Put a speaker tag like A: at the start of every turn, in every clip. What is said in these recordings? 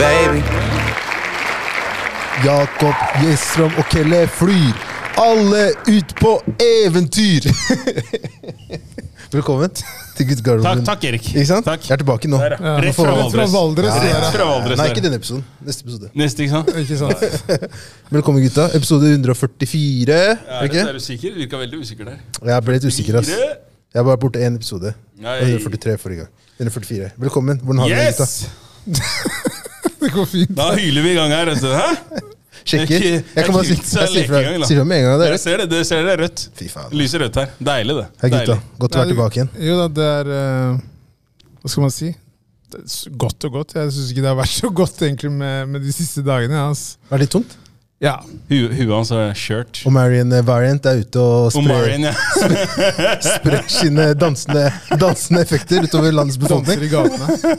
A: Baby.
B: Jakob Gjesstrøm og Kelle flyr alle ut på eventyr! Velkommen til
C: Takk,
B: guttegarderoben.
C: takk, Erik.
B: Ikke sant?
C: Takk.
B: Jeg er tilbake nå.
C: Der, ja. Rett fra
B: Nå får-
D: Rett fra
C: Valdres.
D: Valdres.
C: Ja,
D: ja.
C: Rett fra Valdres.
B: Nei,
C: der.
B: ikke denne episoden. Neste episode.
C: Neste, ikke sant?
D: Ikke sant?
B: Velkommen, gutta. Episode 144.
C: Er,
B: Er det
C: det, er
B: ikke?
C: du sikker? Du virka veldig usikker der.
B: Jeg ble litt usikker, ass.
C: Fire.
B: Jeg var borte én episode.
C: Nei.
B: 143 forrige gang. 144. Velkommen. Hvordan har dere det,
C: Yes!
B: gutta?
D: Det går fint.
C: Da hyler vi i gang her. Altså. Hæ?
B: Sjekker.
C: Jeg-
B: Jeg kan bare si
C: jeg
B: jeg sier
C: leker i gang, da.
B: fra- sier fra med en gang.
C: Dere
B: Dere.
C: ser det, dere ser det er rødt.
B: Fy faen.
C: Lyser rødt her. Deilig, det.
B: Hei, gutta.
C: Deilig.
B: Godt å være tilbake igjen.
D: Jo da, det er eh, Hva skal man si? Det er s- Godt og godt. Jeg syns ikke det har vært så godt egentlig med, med de siste dagene. ja, Altså.
B: Er det litt tungt?
D: Ja.
C: Hu, huet hans er shirt.
B: Og Marion Variant er ute og sprer
C: Omarion, ja.
B: sprer sine dansende, dansende effekter utover landets befolkning.
D: Danser i gatene.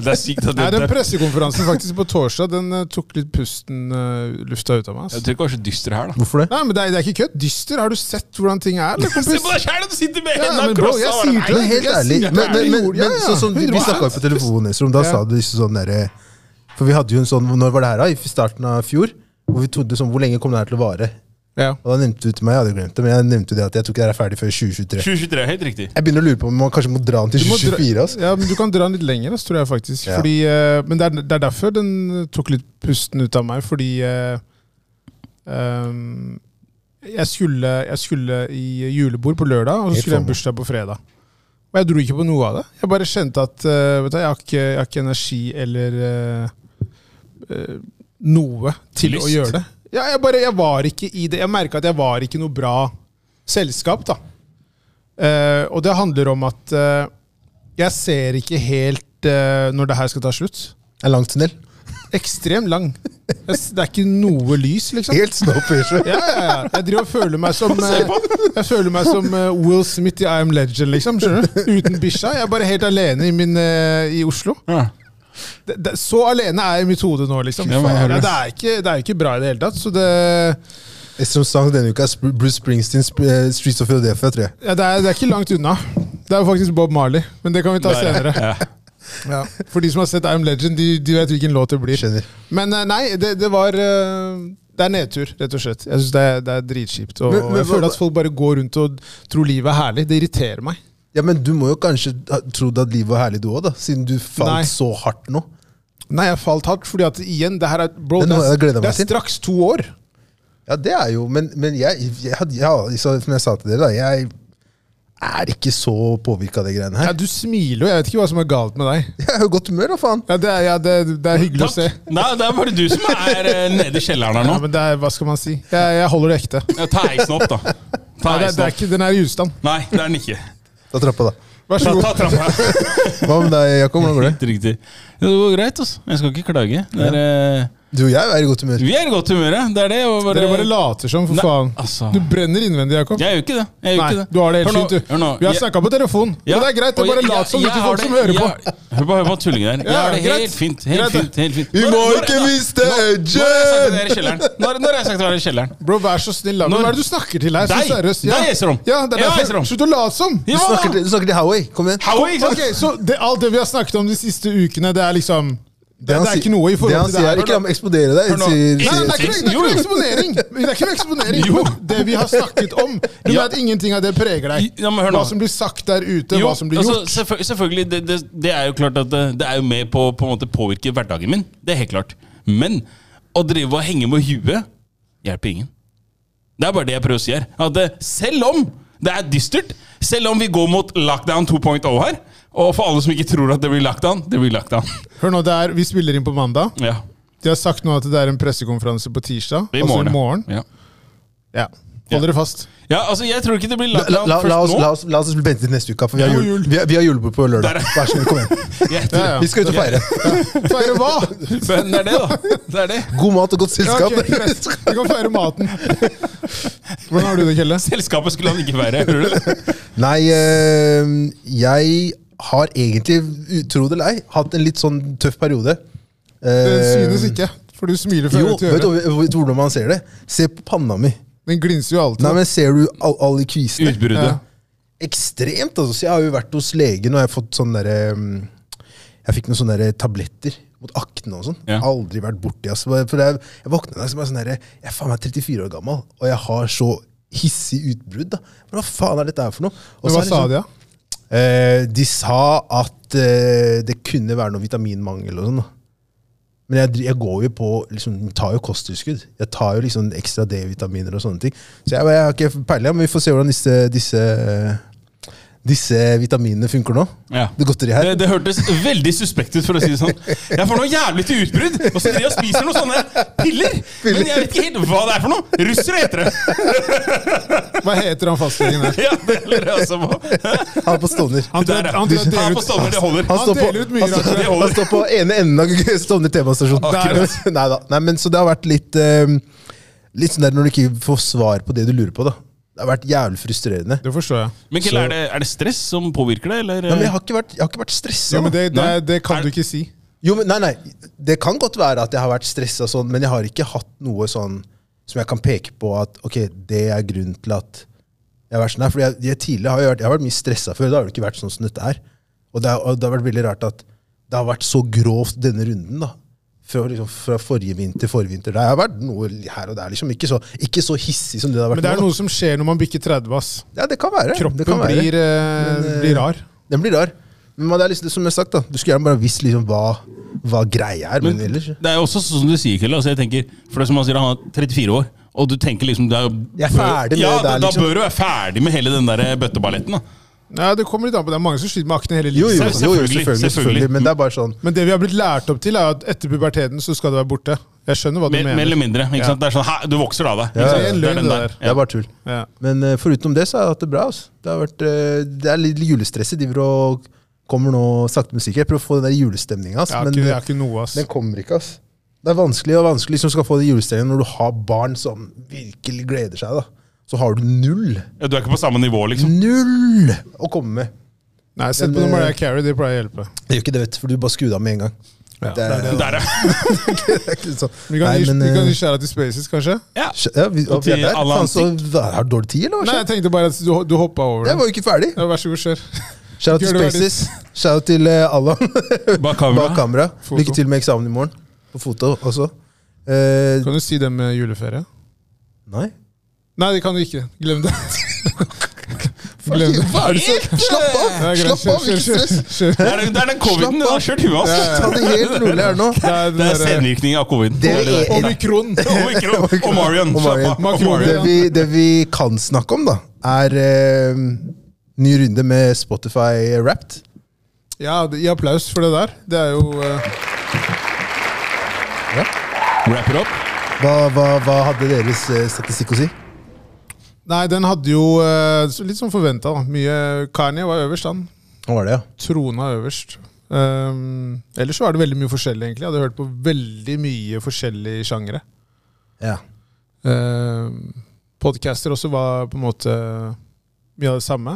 C: Det er sykt at
D: Nei,
C: det
D: den pressekonferansen faktisk på torsdag, den eh, tok litt pusten eh, lufta ut av
C: Jeg
D: meg. Altså.
C: tror ikke det var så dyster her, da.
B: Hvorfor det?
D: Nei, men det er, det er ikke kødd. Dyster. Har du sett hvordan ting er? Eller,
C: Se
D: kompis?
C: på deg sjæl, du sitter med
D: Ja,
C: hendene
D: men bro,
C: krosset
D: jeg
C: over
D: sier
C: deg.
D: til
B: Men helt
D: jeg
B: ærlig,
D: sier
B: men, men,
D: det.
B: men,
D: Ja,
B: men
D: ja,
B: sånn som vi, vi
D: 100%.
B: snakka jo på telefonen, Nesrum, da
D: Ja.
B: sa du liksom sånn derre For vi hadde jo en sånn Når var det her, da? I starten av fjor? Hvor vi trodde sånn Hvor lenge kom det her til å vare?
D: Ja.
B: Og da nevnte du til meg, jeg hadde glemt det, men jeg nevnte jo det at jeg tror ikke det her er ferdig før 2023.
C: 2023, helt riktig.
B: Jeg begynner å lure på om man kanskje må dra den til
D: Du må dra-
B: 2024. Altså.
D: Ja, men Du kan dra den litt lenger, altså, tror jeg faktisk.
B: Ja.
D: Fordi, eh, men det er, det er derfor den tok litt pusten ut av meg, fordi eh, ehm, jeg, skulle, jeg skulle i julebord på lørdag, og
B: Helt
D: så skulle jeg
B: formål.
D: i bursdag på fredag. Og jeg dro ikke på noe av det. Jeg bare kjente at eh, vet du, jeg, har ikke, jeg har ikke energi eller eh, eh, noe til
C: Lyst.
D: å gjøre det. Ja, jeg, bare, jeg var ikke i det. Jeg merka at jeg var ikke noe bra selskap, da. Eh, og det handler om at eh, jeg ser ikke helt eh, når det her skal ta slutt.
B: En lang tunnel.
D: Ekstremt lang. Jeg s- Det er ikke noe lys, liksom.
B: Helt snowpiercer.
D: Ja, ja, ja. Jeg driver og føler meg som eh, Jeg føler meg som eh, Will Smith i I Am Legend, liksom. skjønner du? Uten bikkja. Jeg er bare helt alene i, min, eh, i Oslo.
C: Ja.
D: Det, det, så alene er jeg i mitt hode nå, liksom.
C: Ja, men-
D: Ja, det, er ikke, det er ikke bra i det hele tatt. Så det,
B: Nesrums sang denne uka er Sp- Bruce Springsteens eh, Streets of Philadelphia, tror jeg.
D: ja, det, er, det er ikke langt unna. Det er jo faktisk Bob Marley, men det kan vi ta
C: Der,
D: senere.
C: ja.
D: Ja. For de som har sett I Am Legend, de, de vet hvilken låt det blir.
B: Skjønner.
D: Men eh, nei, det, det var eh, Det er nedtur, rett og slett. Jeg syns det, er- det er dritkjipt. Og
B: Men- men
D: jeg
B: hva-
D: føler at folk bare går rundt og tror livet er herlig. Det irriterer meg.
B: Ja, Men du må jo kanskje ha trodd at livet var herlig, du òg, da? Siden du falt
D: Nei.
B: så hardt nå.
D: Nei, jeg falt hardt, fordi at igjen, det her er Bro,
B: Det er
D: det
B: noe jeg
D: er,
B: gleder meg
D: det er
B: til.
D: straks to år.
B: Ja, det er jo Men, men jeg, jeg, hadde- ja, så, som jeg sa til dere, da. Jeg er ikke så påvirka av de greiene
D: Ja,
B: her.
D: du smiler jo. Jeg vet ikke hva som er galt med deg.
B: Jeg er jo i godt humør, da, faen.
D: Ja, Det er, ja, det, det er hyggelig å se.
C: Takk. Nei, det er bare du som er eh, nede i kjelleren her
D: Ja,
C: nå.
D: men det er, hva skal man si? Jeg, jeg holder det ekte.
C: Ja, ta heisen opp, da. Ta
D: Nei, det, er-
C: heisen
D: det er
C: opp.
D: ikke, den er i ustand.
C: Nei, det er den ikke.
B: Ta trappa, da.
D: Vær
C: Ta,
D: så god.
C: ta trappa.
B: Hva med deg, Jakob? Hvordan går det?
C: Helt riktig. Ja, det går greit, altså. Jeg skal ikke klage. Det er, eh,
B: Du og jeg er i godt humør.
C: vi er i godt humør, ja. det er det. Og bare,
D: Dere bare later som, for
C: Nei,
D: faen.
C: altså.
D: Du brenner innvendig, Jakob.
C: Jeg gjør ikke det. Jeg gjør
D: Nei,
C: ikke det.
D: du har det helt
C: Hør nå,
D: fint, du.
C: hør nå.
D: Vi har
C: Jeg-
D: snakka på telefon,
C: Ja,
D: men det er greit.
C: og
D: Det er bare
C: jeg-
D: lat som
C: jeg
D: ikke
C: har
D: folk
C: det-
D: som hører på.
C: jeg- Hør på, hør på tulling der. Jeg
D: Ja,
C: har det
D: greit.
C: helt fint. Helt
D: Greit, det.
C: fint, helt fint.
B: Vi
C: Når-
B: må
C: når-
B: ikke
C: når-
B: miste
C: Når har jeg sagt at jeg er i
B: edgen!
C: kjelleren? Når, når har jeg sagt at jeg er i kjelleren?
D: Bro, vær så snill. da.
C: Når-
D: Hvem er det du snakker til her? Så
C: Deg.
D: seriøst.
C: Deg, Esrom.
D: Ja, det er
C: Ja,
D: derfor.
C: Esrom.
D: Slutt å late som.
B: Du snakker, til, du snakker til Howie. Kom igjen.
C: Howie, ikke sant?
D: Ok, Så det, alt det vi har snakket om de siste ukene, det er liksom Det, det
B: han
D: er
B: sier-
D: ikke noe i
B: det
D: forhold
B: han
D: til det
B: sier,
D: her.
B: er ikke la meg eksplodere deg.
C: Hør nå.
B: sier- sier-
D: Nei, det er ikke, det er
C: Jo,
D: ikke noe
C: jo.
D: eksponering! Det er ikke noe eksponering
C: Jo.
D: men Det vi har snakket om. Du
C: Ja.
D: vet ingenting av det preger deg.
C: Ja, men hør nå.
D: Hva som blir sagt der ute,
C: Jo,
D: hva som blir
C: altså,
D: gjort.
C: selvfø- selvfølgelig, det, det, det er jo klart at eh, det, det er jo med på på en måte påvirke hverdagen min. Det er helt klart. Men å drive og henge med huet hjelper ingen. Det er bare det jeg prøver å si her. At eh, selv om det er dystert, selv om vi går mot lockdown 2.0 her, og for alle som ikke tror at det blir lockdown, det blir lockdown.
D: Hør nå, det er, Vi spiller inn på mandag.
C: Ja.
D: De har sagt nå at det er en pressekonferanse på tirsdag.
C: I
D: altså
C: morgen.
D: i morgen.
C: Ja.
D: Ja. Hold dere fast.
C: ja, altså, jeg tror ikke det blir
B: La, la,
C: lockdown
B: la, la, oss,
C: først
B: la,
C: nå.
B: oss, la oss bli ventet til neste uke, for vi har,
D: God
B: jul,
D: jul.
B: vi har, vi har julebord på lørdag.
C: Der.
B: Vær så snill, kom igjen.
C: Jeg tror,
D: Ja, ja.
B: Vi skal ut og feire.
D: Feire hva?
C: Men det er det, da. Det er det.
B: God mat og godt
D: Ja,
B: selskap.
D: ok, greit. Vi kan feire maten. Hvordan har du det, Kjelle?
C: Selskapet skulle han ikke være. Hører du det?
B: Nei, eh, jeg har egentlig, tro det eller ei, hatt en litt sånn tøff periode.
D: Det
B: Eh,
D: synes ikke, for du smiler fra
B: Jo,
D: øre til
B: vet du,
D: øre.
B: vet du hvordan man ser det? Se på panna mi.
D: Den glinser jo alltid.
B: Nei, men Ser du all- alle kvisene?
C: Utbruddet.
D: Ja.
B: Ekstremt, altså. Så jeg har jo vært hos legen, og jeg har fått sånn derre um, Jeg fikk noen sånne der tabletter mot akne og sånn.
C: Ja.
B: Aldri vært borti ass. Bare- For jeg, jeg våkna en dag som er sånn der, Jeg er faen meg 34 år gammel, og jeg har så hissig utbrudd. da. Men hva faen er dette her for noe? Og så
D: Men hva
B: er det
D: sa
B: sånn-
D: de, da?
B: Eh, de sa at eh, det kunne være noe vitaminmangel og sånn. da. Men jeg, dri- jeg går jo på, liksom, jeg tar jo kosttilskudd. Jeg tar jo liksom ekstra D-vitaminer og sånne ting. Så jeg, jeg har ikke peiling, men vi får se hvordan disse, disse, eh, disse vitaminene funker nå.
C: Ja.
B: Det godteriet her.
C: Det, det hørtes veldig suspekt ut, for å si det sånn. Jeg får noe jævlig til utbrudd, og så driver jeg og spiser noen sånne piller! Men jeg vet ikke helt hva det er for noe! Russere heter det!
D: Hva heter han fastlegen der?
C: Ja, det altså. lurer jeg også på.
B: Han er på Stovner.
C: Der,
D: Han tror-
C: ja.
D: han tror at
C: Ta
D: dere-
C: på stommer, det holder.
B: Han
D: Han
B: står, på,
D: deler ut mye
B: han,
D: rart,
B: står,
C: det holder.
B: han står på ene enden av Stovner T-banestasjon.
C: Akkurat.
B: Nei da. Nei, men, så det har vært litt eh, Litt sånn der når du ikke får svar på det du lurer på. da Det har vært jævlig frustrerende.
D: Det forstår jeg.
C: Men Kjell, er, det, er det stress som påvirker det, eller?
B: Nei, men jeg har ikke vært, jeg har ikke vært stressa.
D: Eh. Jo, men det, det,
C: Nei.
D: det kan du ikke si.
B: Jo, men nei, nei. Det kan godt være at jeg har vært stressa sånn, men jeg har ikke hatt noe sånn som jeg kan peke på at ok, det er grunnen til at jeg har vært sånn her. For jeg, jeg tidligere har jo vært, jeg har vært mye stressa før. Da har det ikke vært sånn som dette her. Og det, er, og det har vært veldig rart at det har vært så grovt denne runden, da. Fra, liksom, fra forrige vinter, forrige vinter. Det har vært noe her og der, liksom. Ikke så, ikke så hissig som det det har
D: Men
B: vært
D: det er
B: nå.
D: noe som skjer når man bikker 30, ass.
B: Da. Ja, det kan være. det
D: Kroppen
B: kan være.
D: blir, eh,
B: Men, eh,
D: blir rar.
B: Den blir rar. Men man- det er liksom, som jeg har sagt, da. Du skulle gjerne bare visst liksom hva, hva greia er, men, ellers
C: Det er jo også sånn som du sier, Kjell. Altså, jeg tenker, for det er som han sier, han er 34 år. Og du tenker liksom det er,
B: Jeg er ferdig med
C: ja,
B: det der,
C: da,
B: liksom.
C: da bør du være ferdig med hele den der eh, bøtteballetten, da.
D: Nei, det kommer litt an på. Det er mange som sliter med akne hele
B: Jo, jo,
D: livet.
B: jo,
D: ass.
B: jo selvfølgelig,
C: Selvfølgelig,
B: selvfølgelig,
C: selvfølgelig.
B: Men det er bare sånn
D: Men det vi har blitt lært opp til, er at etter puberteten så skal det være borte. Jeg skjønner hva du
C: Mer, mer eller
D: mener.
C: mindre. Ikke
D: Ja.
C: sant? Det er sånn, hæ, Du vokser av deg.
B: Ja,
C: ikke sant?
B: det er
D: en løgn,
C: den
D: det der.
B: Det er bare tull.
D: Ja.
B: Men eh, foruten det så har jeg hatt det bra. Altså. Det, har vært, eh, det er litt julestresset. De driver og kommer nå sakte, men sikkert. Jeg prøver å få den der julestemninga,
D: Jeg har
B: men
D: ikke, jeg
B: eh,
D: har ikke noe, ass.
B: den kommer ikke. ass. Det er vanskelig og vanskelig som skal få den julestemningen når du har barn som virkelig gleder seg. da. Så har du null
C: Ja, Du er ikke på samme nivå, liksom.
B: null å komme med.
D: Nei, sett på
B: den, eh,
D: noe Mariah Carey, det pleier å hjelpe.
B: Det gjør ikke det, vet du, for du bare skrur det av med en gang.
D: Ja,
B: det er-
D: det.
C: Der, ja.
B: Det er ikke sånn.
D: Vi kan
B: Nei,
D: gi-
B: men,
D: vi kan
B: eh,
D: gi skjæra til Spaces, kanskje?
C: ja.
B: ja, vi,
C: Og
B: vi er
C: til
B: der.
C: alle
B: Faen, så, har du dårlig tid, eller hva
D: Nei, jeg
B: skjer?
D: tenkte bare at du, du hoppa over
B: Jeg
D: det.
B: var jo ikke ferdig.
D: Ja, vær så god, kjør.
B: Shout out til
D: Gjør det ferdig.
B: Spaces. Shout out til eh, Allan.
C: Bak kamera.
B: Bak kamera.
D: Foto.
B: Lykke til med eksamen i morgen. På foto også. Eh,
D: Kan du si det med juleferie?
B: nei?
D: Nei, det kan du ikke. Glem det. Glem det.
B: Hva er det så? Slapp av!
D: Ja, greit,
B: Slapp av,
D: kjør,
B: ikke
D: kjør,
B: stress!
D: kjør, kjør.
C: Det er, det er den coviden. Den har kjørt huet hans.
B: Ta det helt rolig her nå.
D: Det er den
C: Det er
D: derre-
C: senvirkningen av coviden.
B: Det
C: Det
B: er-
C: er det.
D: Omikron.
C: Omikron.
B: Omarion.
C: Omarion. Slapp av.
D: Omarion.
B: Det
C: Omarion.
B: vi, det vi kan snakke om, da, er eh, ny runde med Spotify Wrapped.
D: Ja, det- gi applaus for det der. Det er jo eh,
C: Wrap it up.
B: Hva, hva, hva hadde deres eh, statistikk å si?
D: Nei, den hadde jo eh, så litt som forventa, da. Mye Kanye var øverst, han.
B: Hva var det, ja?
D: Trona øverst. Um, ellers så var det veldig mye forskjellig, egentlig. Jeg hadde hørt på veldig mye forskjellige sjangere.
B: ja.
D: Um, Podcaster også var på en måte mye av det samme.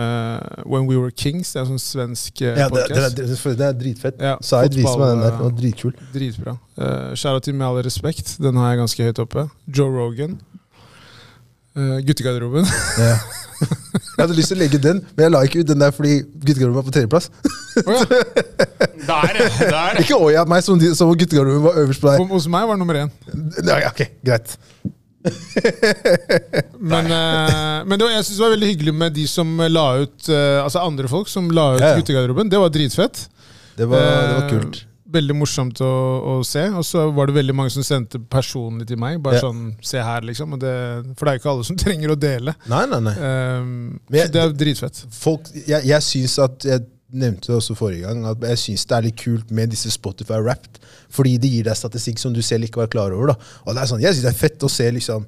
D: Eh, When We Were Kings, det er en sånn svensk eh,
B: Ja, det, det,
D: podcast.
B: det, det er dritfett.
D: Ja,
B: Zaid viser meg den der. Den
D: fotball, eh,
B: var dritkul.
D: Dritbra. Uh, Skjæra til Med all respekt, den har jeg ganske høyt oppe. Joe Rogan. Eh, guttegarderoben.
B: Ja. Jeg hadde lyst til å legge ut den, men jeg la ikke ut den der fordi guttegarderoben var på tredjeplass.
D: Å ja.
C: Der, der.
B: Ikke Oya meg som, de- som guttegarderoben var øverst på
D: Hos-
B: deg.
D: Hos meg var det nummer én.
B: Nei, ok, greit.
D: Men, eh, men det var, jeg synes det var veldig hyggelig med de som la ut eh, Altså andre folk som la ut
B: Ja, ja.
D: guttegarderoben. Det var dritfett.
B: Det var, det var
D: Eh,
B: kult.
D: Veldig morsomt å, å se. Og så var det veldig mange som sendte personlig til meg. Bare
B: Ja.
D: sånn 'se her', liksom. Og det, for det er jo ikke alle som trenger å dele.
B: Nei, nei, nei.
D: Um,
B: Men jeg-
D: så det er dritfett.
B: Folk, jeg, jeg syns at Jeg nevnte det også forrige gang, at jeg syns det er litt kult med disse Spotify Wrapped, fordi det gir deg statistikk som du selv ikke var klar over. da. Og det er sånn, Jeg syns det er fett å se liksom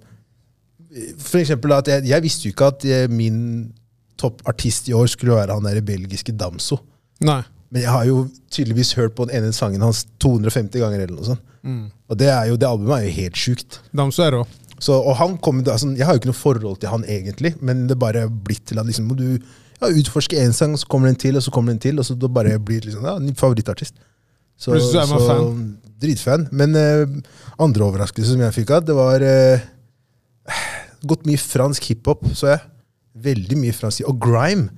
B: For eksempel at jeg, jeg visste jo ikke at eh, min toppartist i år skulle være han der belgiske Damso.
D: Nei.
B: Men jeg har jo tydeligvis hørt på den ene sangen hans 250 ganger. eller noe sånt. Og det, er jo, det albumet er jo helt sjukt.
D: Damso er rå.
B: Så, og han kom, altså, jeg har jo ikke noe forhold til han egentlig, men det bare blitt til at liksom, må du ja, utforske én sang, så kommer det en til, og så kommer det en til, og så da bare blir det liksom, ja, ny favorittartist. Så,
D: Plutselig så er man
B: Dritfan. Men eh, andre overraskelse som jeg fikk av, det var eh, Gått mye fransk hiphop, så jeg. Veldig mye fransk. Og grime.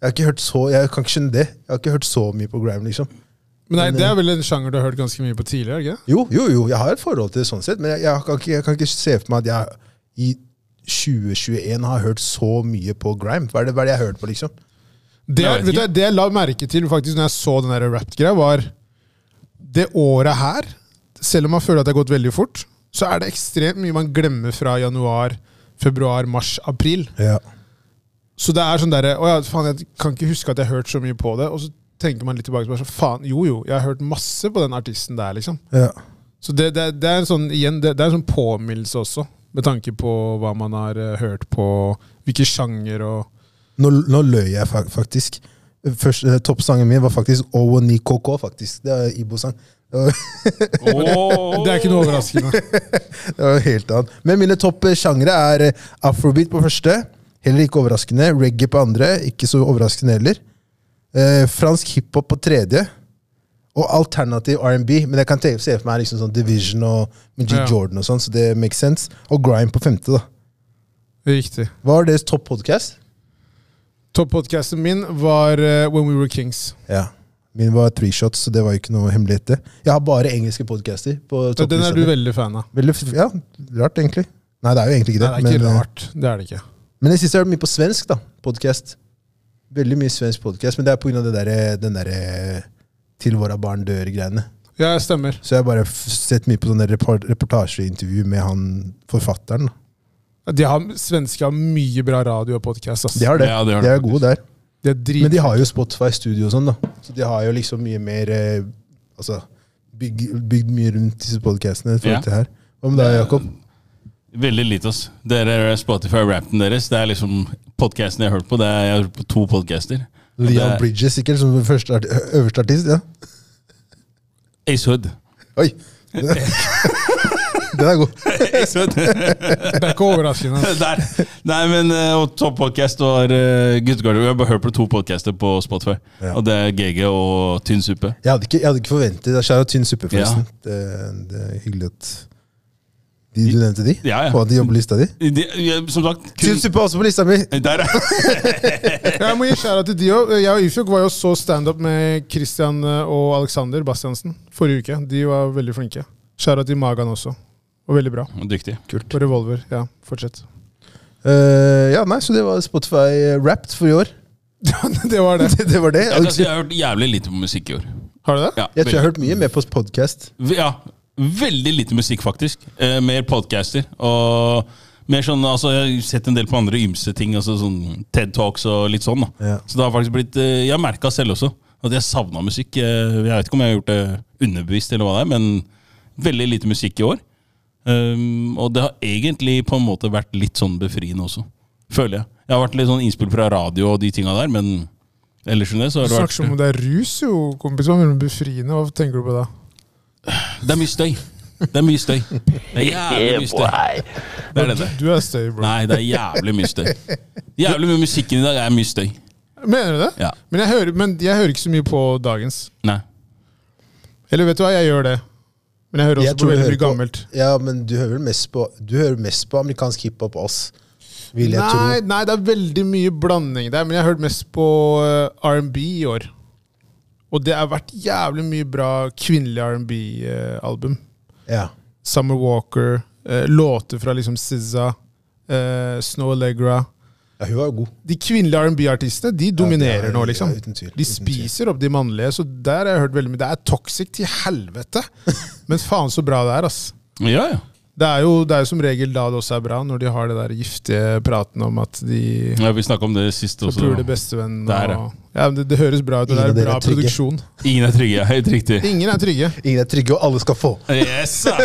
B: Jeg har ikke hørt så, jeg kan ikke skjønne det. Jeg har ikke hørt så mye på Grime, liksom.
D: Men nei,
B: eh,
D: det er vel en sjanger du har hørt ganske mye på tidligere? ikke det?
B: Jo, jo, jo, jeg har et forhold til det sånn sett, men jeg, jeg, kan, ikke, jeg kan ikke se for meg at jeg i 2021 har hørt så mye på Grime. Hva er det, hva er det jeg har hørt på, liksom?
D: Det,
C: Nei, jeg vet
D: vet du,
C: ikke.
D: det jeg la merke til faktisk når jeg så den der rap-greia, var det året her Selv om man føler at det har gått veldig fort, så er det ekstremt mye man glemmer fra januar, februar, mars, april.
B: Ja.
D: Så det er sånn derre Å ja, faen, jeg kan ikke huske at jeg har hørt så mye på det. Og så tenker man litt tilbake og så bare sånn Faen, jo jo, jeg har hørt masse på den artisten der, liksom.
B: ja.
D: Så det, det, det er en sånn, igjen, det, det er en sånn påminnelse også, med tanke på hva man har eh, hørt på, hvilke sjanger og
B: Nå, nå løy jeg fa- faktisk. Først, eh, Toppsangen min var faktisk Owo Ni Koko, faktisk. Det er Ibo-sang. Det var-
C: Åh.
D: Det er ikke noe overraskende.
B: det var helt annet. Men mine topp eh, sjangre er eh, afrobeat på første. Heller ikke overraskende. Reggae på andre. Ikke så overraskende heller. Eh, fransk hiphop på tredje. Og alternativ R&B. Men jeg kan te- se for meg liksom sånn Division og G.
D: Ja.
B: Jordan og sånn, så det makes sense. Og Grime på femte, da.
D: Riktig.
B: Hva var deres topp podcast?
D: Topp-podcasten min var eh, When We Were Kings.
B: Ja. Min var three shots, så det var jo ikke noe hemmelighet. det. Jeg har bare engelske podcaster. på
D: Så Den
B: topplista
D: er du
B: mi.
D: veldig fan av.
B: Veldig f- Ja, rart, egentlig. Nei, det er jo egentlig ikke
D: Nei,
B: det.
D: det er ikke
B: men, eh,
D: rart. Det er det ikke.
B: men jeg synes jeg har hørt mye på svensk, da. Podcast. Veldig mye svensk podcast, men det er pga. den derre Til våre barn dør-greiene.
D: Ja, jeg stemmer.
B: Så jeg har bare f- sett mye på sånne repor- reportasjeintervju med han forfatteren. da.
D: De har, svensker har mye bra radio og podkast.
B: De har det.
C: Ja, det har
B: de
C: de
B: er gode der.
D: De er drit...
B: Men de har jo Spotify Studio og sånn, da. Så de har jo liksom mye mer eh, Altså bygg, bygd mye rundt disse podkastene.
C: Ja.
B: her. Hva med deg, Jakob?
C: Veldig lite, ass. Dere er Spotify-rappen deres. Det er liksom podcasten jeg har hørt på. Det er, jeg har hørt på to podcaster. Og det
B: Leon
C: er
B: Bridges, sikkert, som den første arti- ø- øverste artist. ja.
C: Ace Hood.
B: Oi! Den er god.
C: Ace Hood.
D: Det er ikke overraskende.
C: Der. Nei, men eh, og topp podcast var uh, Guttegarderobe. Jeg har bare hørt på to podcaster på Spotify.
B: Ja.
C: Og det er GG og Tynn suppe.
B: Jeg hadde ikke, jeg hadde ikke forventet det. Skjær og tynn suppe, forresten. Det, det er hyggelig at de, Du nevnte de?
C: Ja, ja.
B: Og at de jobber på lista di?
C: De, jeg- som sagt kun-
B: Tynn suppe er også på lista mi!
C: Der, ja.
D: Jeg må gi skjæra til de òg. Jeg og Ifjok var jo så standup med Christian eh, og Alexander Bastiansen forrige uke. De var veldig flinke. Skjæra til Magan også. Og veldig bra.
C: Dyktig.
D: Og Revolver. Ja, fortsett.
B: Eh, ja, nei, så det var Spotify eh, Wrapped for i år.
D: det var det.
B: Det, det var det.
C: Jeg, kan si jeg har hørt jævlig lite på musikk i år.
D: Har du det?
C: Ja,
B: Jeg tror jeg har hørt mye mer på podkast.
C: V- Ja, veldig lite musikk faktisk. Eh, mer podcaster. Og mer sånn, altså Jeg har sett en del på andre ymse ting, altså sånn TED Talks og litt sånn. da.
B: Ja.
C: Så det har faktisk blitt, eh, Jeg har merka selv også at jeg savna musikk. Eh, jeg vet ikke om jeg har gjort det underbevisst, eller hva det er, men veldig lite musikk i år. Um, og det har egentlig på en måte vært litt sånn befriende også, føler jeg. Jeg har vært litt sånn innspill fra radio og de tinga der, men ellers enn det så
D: Du
C: har det
D: snakker som om
C: vært
D: det er rus, jo, kompis. Hva mener du med befriende? Hva tenker du på da?
C: Det er mye støy. Det er mye støy. Det er
D: Ah,
C: jævlig mye støy. Det er det det. er.
D: Du er støy, bro.
C: Nei, det er jævlig mye støy. Jævlig mye musikken i dag er mye støy.
D: Mener du det?
C: Ja.
D: Men, jeg hører, men jeg hører ikke så mye på dagens.
C: Nei.
D: Eller vet du hva, jeg gjør det. Men jeg hører også
B: Jeg tror
D: på
B: du
D: veldig
B: hører
D: mye
B: på-
D: gammelt.
B: Ja, men du hører vel mest på, du hører mest på amerikansk hiphop og oss, vil jeg
D: Nei, nei, det er veldig mye blanding der, men jeg har hørt mest på eh, R&B i år. Og det har vært jævlig mye bra kvinnelig R&B-album.
B: tro. Ja.
D: eh, Summer Walker, eh, låter fra liksom SZA, eh, Snow Allegra.
B: ja, hun var jo god.
D: De kvinnelige R&B-artistene de
B: det
D: dominerer
B: er-
D: nå, liksom.
B: ja, uten tvil, uten
D: de
B: tvil.
D: spiser opp de mannlige, så der har jeg hørt veldig mye. Det er toxic til helvete! Men faen så bra det er, ass.
C: Ja, ja.
D: Det er jo det er jo som regel da det også er bra, når de har det der giftige praten om at de
C: ja vi snakka om det sist også.
D: forpuler bestevennen.
C: Det er det.
D: Og, ja, men det, det høres bra ut, og det
B: Ingen av
D: er
B: dere
D: bra
B: er trygge.
D: produksjon.
C: Ingen er trygge. ja. Helt riktig.
D: Ingen er trygge.
B: Ingen er trygge, og alle skal få.
C: Yes! sa.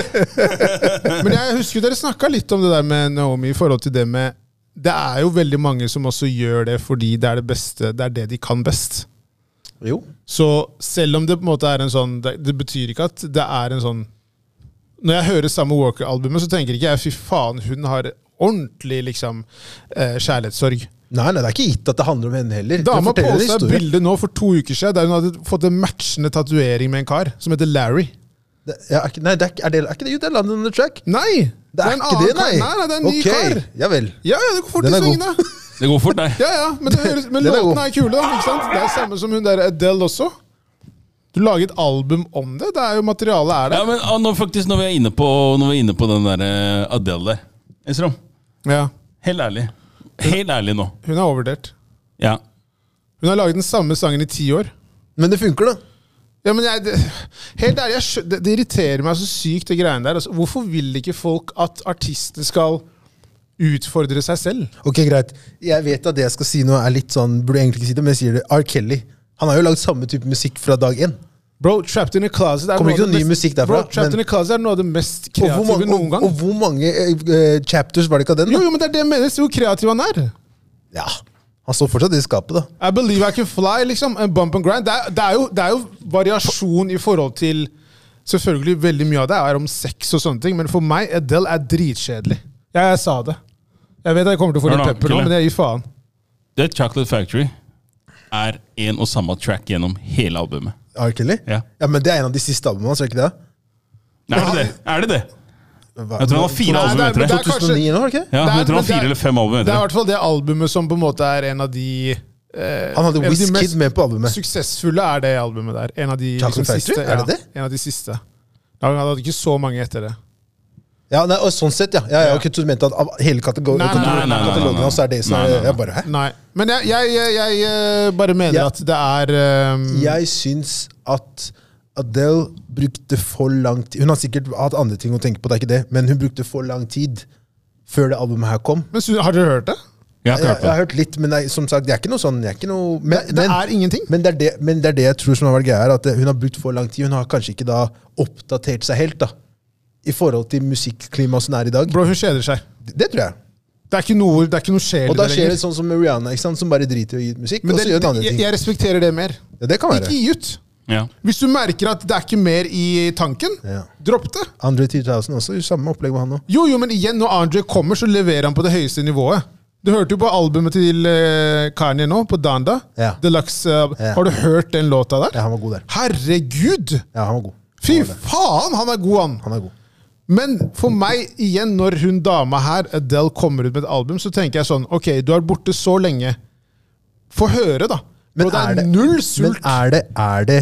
D: Men jeg husker dere snakka litt om det der med Naomi i forhold til det med Det er jo veldig mange som også gjør det fordi det er det beste, det er det de kan best.
B: Jo.
D: Så selv om det på en måte er en sånn Det, det betyr ikke at det er en sånn Når jeg hører Summer Walker-albumet, så tenker ikke jeg fy faen, hun har ordentlig liksom eh, kjærlighetssorg.
B: Nei, nei, det er ikke gitt at det handler om henne heller.
D: Dama
B: Det forteller en
D: posta et
B: historie.
D: bilde nå for to uker siden der hun hadde fått en matchende tatovering med en kar som heter Larry.
B: Det, ja, er ikke, nei, det er, ikke- er, det, er ikke det? Jo, det er London on the track.
D: Nei!
B: Det er,
D: en
B: ikke
D: annen
B: det, nei.
D: Kar. Nei, nei, det er en ny
B: Ok,
D: kar.
B: Ja vel.
D: Ja, ja, det går fort
B: Den
D: i
B: er god.
D: svingene.
C: Det går fort, der.
D: Ja, ja, men, det, høres- men
B: Den er god.
D: låtene er kule, da. ikke sant? Det er samme som hun der Adele også. Du lager et album om det. Det er jo materialet er
C: Ja,
D: der.
C: men ah, nå, faktisk, når vi er inne på, når vi er inne på den der eh, Adele der Esrom,
D: Ja,
C: helt ærlig. Helt ærlig nå.
D: Hun er overvurdert.
C: Ja.
D: Hun har laget den samme sangen i ti år.
B: Men det funker, da.
D: Ja, men jeg, det, helt ærlig, jeg, skjø- det, det irriterer meg så sykt, det greiene der. Altså, hvorfor vil ikke folk at artister skal utfordre seg selv?
B: Ok, greit. Jeg vet at det jeg skal si nå, er litt sånn Burde jeg egentlig ikke si det, men jeg sier det. R. Kelly. Han har jo lagd samme type musikk fra dag én.
D: Bro, Trapped in a Closet er,
B: Kommer
D: noe av
B: ikke
D: det
B: noe ny
D: mest-
B: musikk derfra,
D: Bro, Trapped
B: men-
D: in a Closet er noe av det mest
B: Og hvor
D: kreative
B: mange,
D: noen
B: og,
D: gang.
B: og hvor mange eh, eh, chapters var det ikke av den?
D: jo,
B: da?
D: jo, men det er det jeg mener. Se hvor kreativ han er.
B: Ja. Han står fortsatt i skapet, da.
D: I believe I can fly, liksom. En bump and grind. Det er, det, er jo, det er jo variasjon i forhold til Selvfølgelig, veldig mye av det er om sex og sånne ting, men for meg, Adele er dritkjedelig. Ja, jeg sa det. Jeg vet jeg kommer til å få
C: Hør
D: litt
C: nå,
D: pepper nå,
C: Kille.
D: men jeg gir faen.
C: Det Chocolate Factory er en og samme track gjennom hele albumet.
B: R. Kelly?
C: Ja.
B: ja, men det er en av de siste albumene hans, er det ikke det?
C: Nei, Er det det? Er det det?
B: Hva-
C: Jeg tror han har fire
D: Nei,
C: album
D: nei,
C: etter
D: men
C: det.
D: det er kanskje-
B: 2009 nå, har det ikke?
C: Ja, jeg
D: det er-
C: tror han har
D: men det er-
C: fire eller fem album
D: Det er i
C: etter det.
D: hvert fall det albumet som på en måte er en av de eh,
B: Han hadde
D: en av de mest
B: Wizkid med på albumet.
D: Suksessfulle er det albumet der. En av de
B: Chocolate
D: liksom,
B: Factory?
D: siste.
B: Er det det?
D: Ja, en av de siste. Ja, han hadde ikke så mange etter det.
B: Ja, nei, og sånn sett, ja. ja, ja ok, så du mente at av hele kategor-
D: Nei, nei, nei, nei,
B: kategorien
D: nei, nei,
B: katalogen
C: nei.
B: hans er det som
C: Nei, nei, nei.
B: er jeg bare, Hæ?
D: Nei. Men jeg, jeg, jeg, jeg eh, bare mener
B: Ja.
D: at det er eh,
B: Jeg syns at Adele brukte for lang tid Hun har sikkert hatt andre ting å tenke på, det er ikke det, men hun brukte for lang tid før det albumet her kom.
D: Men Su- har dere hørt det?
C: Jeg har
B: Jeg,
C: ikke
B: jeg
C: hørt på
B: har
C: det.
B: hørt litt, men jeg, som sagt, det er ikke noe sånn jeg er ikke noe, men,
D: Det er ingenting.
B: Men det er det, men det er det jeg tror som har vært greia her, at hun har brukt for lang tid. Hun har kanskje ikke da oppdatert seg helt da, i forhold til musikklimaet som er i dag.
D: Bro, hun kjeder seg.
B: Det tror jeg.
D: Det er ikke noe, det er ikke noe sjel i
B: Og da
D: det
B: skjer det
D: lenger.
B: sånn som med Rihanna, ikke sant? som bare driter i å gi ut musikk.
D: Men
B: og
D: det,
B: så gjør hun andre
D: jeg,
B: ting.
D: jeg respekterer det mer.
B: ja, det kan
D: Ikke
B: være.
D: gi ut.
C: Ja.
D: Hvis du merker at det er ikke mer i tanken,
B: Ja.
D: dropp det.
B: Andre 2000 også, samme opplegg med han nå.
D: Jo, jo, men igjen, når Andre kommer, så leverer han på det høyeste nivået. Du hørte jo på albumet til eh, Kanye nå, på Danda.
B: Ja.
D: Deluxe. eh,
B: Ja.
D: Har du hørt den låta der?
B: Ja, han var god der.
D: Herregud!
B: Ja, han var god.
D: Fy
B: Han var det.
D: faen, han er god, han!
B: Han er god.
D: Men for meg, igjen, når hun dama her, Adele, kommer ut med et album, så tenker jeg sånn Ok, du har vært borte så lenge. Få høre, da.
B: Men
D: Bro, det
B: er
D: er,
B: det-
D: null
B: Men
D: sult.
B: er det, er det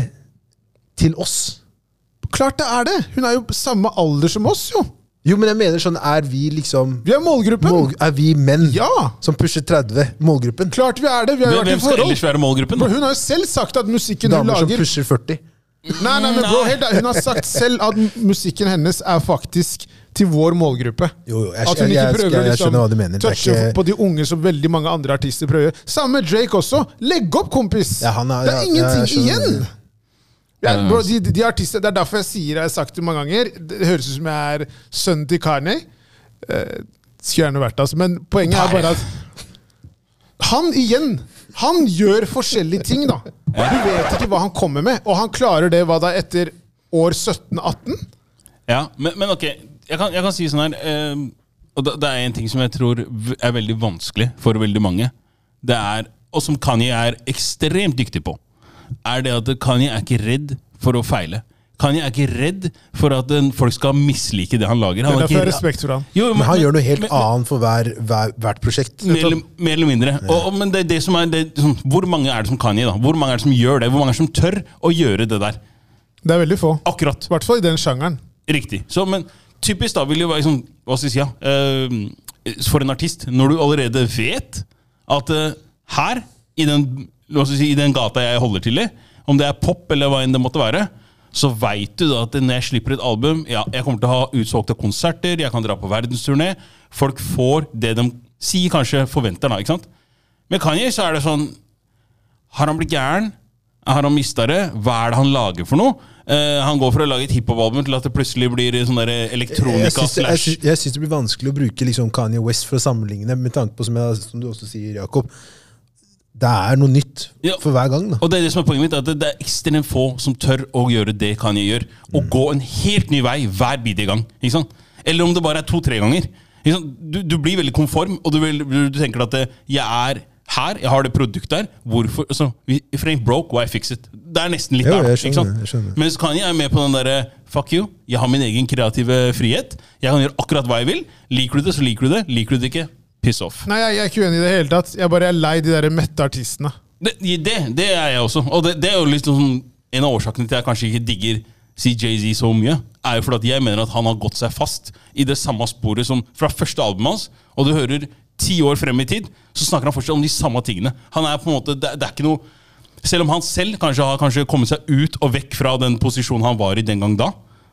B: til oss?
D: Klart det er det! Hun er jo på samme alder som oss, jo.
B: Jo, men jeg mener sånn, er vi liksom
D: Vi er målgruppen.
B: mål, Er vi menn
D: Ja!
B: som pusher 30? Målgruppen?
D: Klart vi er det. Vi har jo
C: Hvem
D: vært i
C: hvem skal ellers
D: forhold.
C: være målgruppen?
D: Bro, hun har jo selv sagt at musikken hun
B: Damer som
D: lager
B: pusher 40?
D: Nei, nei, men bro, helt, ærlig, Hun har sagt selv at musikken hennes er faktisk til vår målgruppe.
B: Jo, jo, jeg-
D: at hun
B: jeg-
D: ikke
B: jeg-
D: prøver
B: jeg-
D: å
B: jeg
D: liksom,
B: skjønner hva du mener. Det er
D: touche
B: ikke-
D: på de unge som veldig mange andre artister prøver. Samme med Drake også. Legg opp, kompis!
B: Ja, han er-
D: det
B: ja, ja,
D: er ingenting
B: jeg skjønner
D: igjen!
B: det.
D: Ja, bro, de, de, de artister, Det er derfor jeg sier jeg har sagt det mange ganger. Det høres ut som jeg er sønnen til Kanye. Eh, skulle gjerne vært det, altså. Men poenget er bare at han igjen Han gjør forskjellige ting, da. Du vet ikke hva han kommer med, og han klarer det hva da etter år 17-18?
C: Ja, men, men ok, jeg kan, jeg kan si sånn her eh, Og det, det er en ting som jeg tror v- er veldig vanskelig for veldig mange. Det er, Og som Kanye er ekstremt dyktig på, er det at Kanye er ikke redd for å feile. Kanye er ikke redd for at en, folk skal mislike det han lager. Han
D: Det er derfor jeg
C: ikke-
D: har respekt for han.
C: Jo,
B: Men han gjør noe helt
C: men-
B: annet for hver, hver, hvert prosjekt.
C: Mer, eller- mer eller mindre. Og, og, men det er det som er det, sånn, Hvor mange er det som kan gi, da? Hvor mange er det som gjør det? Hvor mange er det som tør å gjøre det der?
D: Det er veldig få.
C: Akkurat.
D: I hvert fall i den sjangeren.
C: Riktig. Så, men typisk da vil jo være sånn Hva skal jeg si, ja? eh, for en artist, når du allerede vet at eh, her, i den, hva skal jeg si, i den gata jeg holder til i, om det er pop eller hva enn det måtte være, så veit du da at når jeg slipper et album ja, Jeg kommer til å ha utsolgte konserter, jeg kan dra på verdensturné. Folk får det de sier, kanskje forventer, da. ikke sant? Med Kanye så er det sånn har han blitt gæren? Har han mista det? Hva er det han lager for noe? Eh, han går for å lage et hiphop-album til at det plutselig blir sånn der elektronika
B: Jeg syns- jeg
C: slash
B: syns- jeg syns det blir vanskelig å bruke liksom Kanye West for å sammenligne, med tanke på, som, jeg, som du også sier, Jakob, det er noe nytt
C: Ja.
B: for hver gang. da.
C: Og det er det som er poenget mitt, at det, det er ekstremt få som tør å gjøre det Kanye gjør. Å
B: Mm.
C: gå en helt ny vei hver bidige gang. Ikke sant? Eller om det bare er to-tre ganger. Ikke sant? Du, du blir veldig konform, og du, vil, du tenker at eh, jeg er her, jeg har det produktet her. Hvorfor? Altså, vi- if it ain't broke, why fix it? Det er nesten litt
B: Jo,
C: der.
B: jeg
C: Ikke sant?
B: skjønner, jeg skjønner.
C: Mens Kanye er med på den derre fuck you, jeg har min egen kreative frihet. Jeg kan gjøre akkurat hva jeg vil. Liker du det, så liker du det. Liker du det ikke, Piss off.
D: Nei, jeg, jeg er ikke uenig i det hele tatt. Jeg bare er lei de der mette artistene.
C: Det, det, det er jeg også. Og det, det er jo litt sånn, en av årsakene til at jeg kanskje ikke digger si Jay-Z så mye, er jo fordi at jeg mener at han har gått seg fast i det samme sporet som fra første albumet hans. Og du hører ti år frem i tid, så snakker han fortsatt om de samme tingene. Han er på en måte, det, det er ikke noe Selv om han selv kanskje har kanskje kommet seg ut og vekk fra den posisjonen han var i den gang da,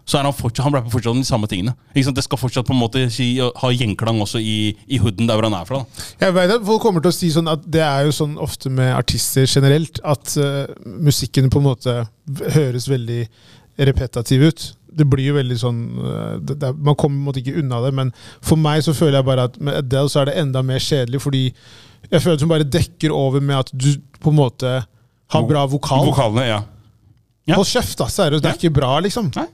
C: så er han fortsatt, han rapper fortsatt om de samme tingene. Ikke sant? Det skal fortsatt på en måte si, ha gjenklang også i, i hooden der hvor han er fra. da.
D: Jeg vet at Folk kommer til å si sånn at det er jo sånn ofte med artister generelt, at eh, musikken på en måte v- høres veldig repetativ ut. Det blir jo veldig sånn eh, det, det, er- Man kommer på en måte ikke unna det, men for meg så føler jeg bare at med Adele så er det enda mer kjedelig, fordi jeg føler at hun bare dekker over med at du på en måte har bra vokal.
C: Vokalene, ja. Ja.
D: Hold kjeft, da! Seriøst, det er ikke bra, liksom.
C: Nei?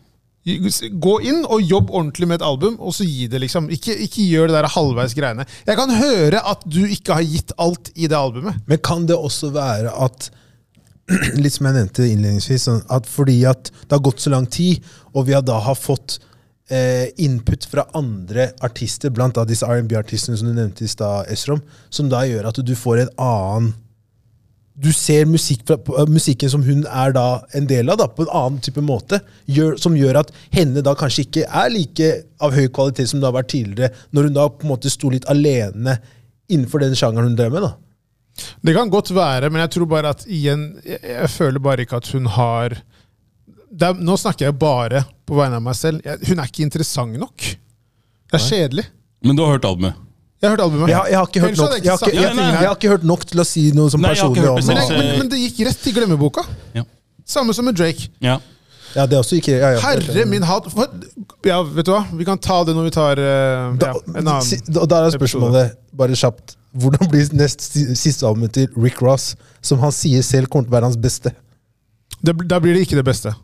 D: Gå inn og jobb ordentlig med et album, og så gi det, liksom. Ikke, ikke gjør det der halvveis greiene. Jeg kan høre at du ikke har gitt alt i det albumet.
B: Men kan det også være at Litt som jeg nevnte innledningsvis, sånn at fordi at det har gått så lang tid, og vi har da har fått eh, input fra andre artister, blant annet disse R&B-artistene som du nevnte i stad, Esrom, som da gjør at du får en annen Du ser musikk fra, på, eh, musikken som hun er da en del av, da, på en annen type måte, gjør, som gjør at henne da kanskje ikke er like av høy kvalitet som det har vært tidligere, når hun da på en måte sto litt alene innenfor den sjangeren hun drev med. da.
D: Det kan godt være, men jeg tror bare at igjen Jeg, jeg føler bare ikke at hun har det er, Nå snakker jeg bare på vegne av meg selv. Jeg, hun er ikke interessant nok. Det er kjedelig.
C: Men du har hørt albumet?
D: Jeg har hørt albumet.
B: Jeg, har- jeg, har ikke hørt
D: Ellers
B: nok,
D: hadde
B: jeg, har
D: ikke
B: ikke, jeg,
D: sagt-
B: har ikke- jeg har ikke hørt nok til å si noe som
C: Nei, jeg har
B: personlig
C: ikke
B: om
C: hørt det
D: Men,
C: selv.
B: det.
D: jeg, men, men det gikk rett i glemmeboka.
C: Ja.
D: Samme som med Drake.
C: ja.
B: Ja, det er også ikke, ja, ja,
D: Herre min hatt for- Ja, vet du hva? Vi kan ta det når vi tar eh,
B: Da,
D: ja, en annen
B: si- da, da er spørsmålet, bare kjapt Hvordan blir nest si- siste albumet til Rick Ross, som han sier selv kommer til å være hans beste?
D: Det, da blir det ikke det beste.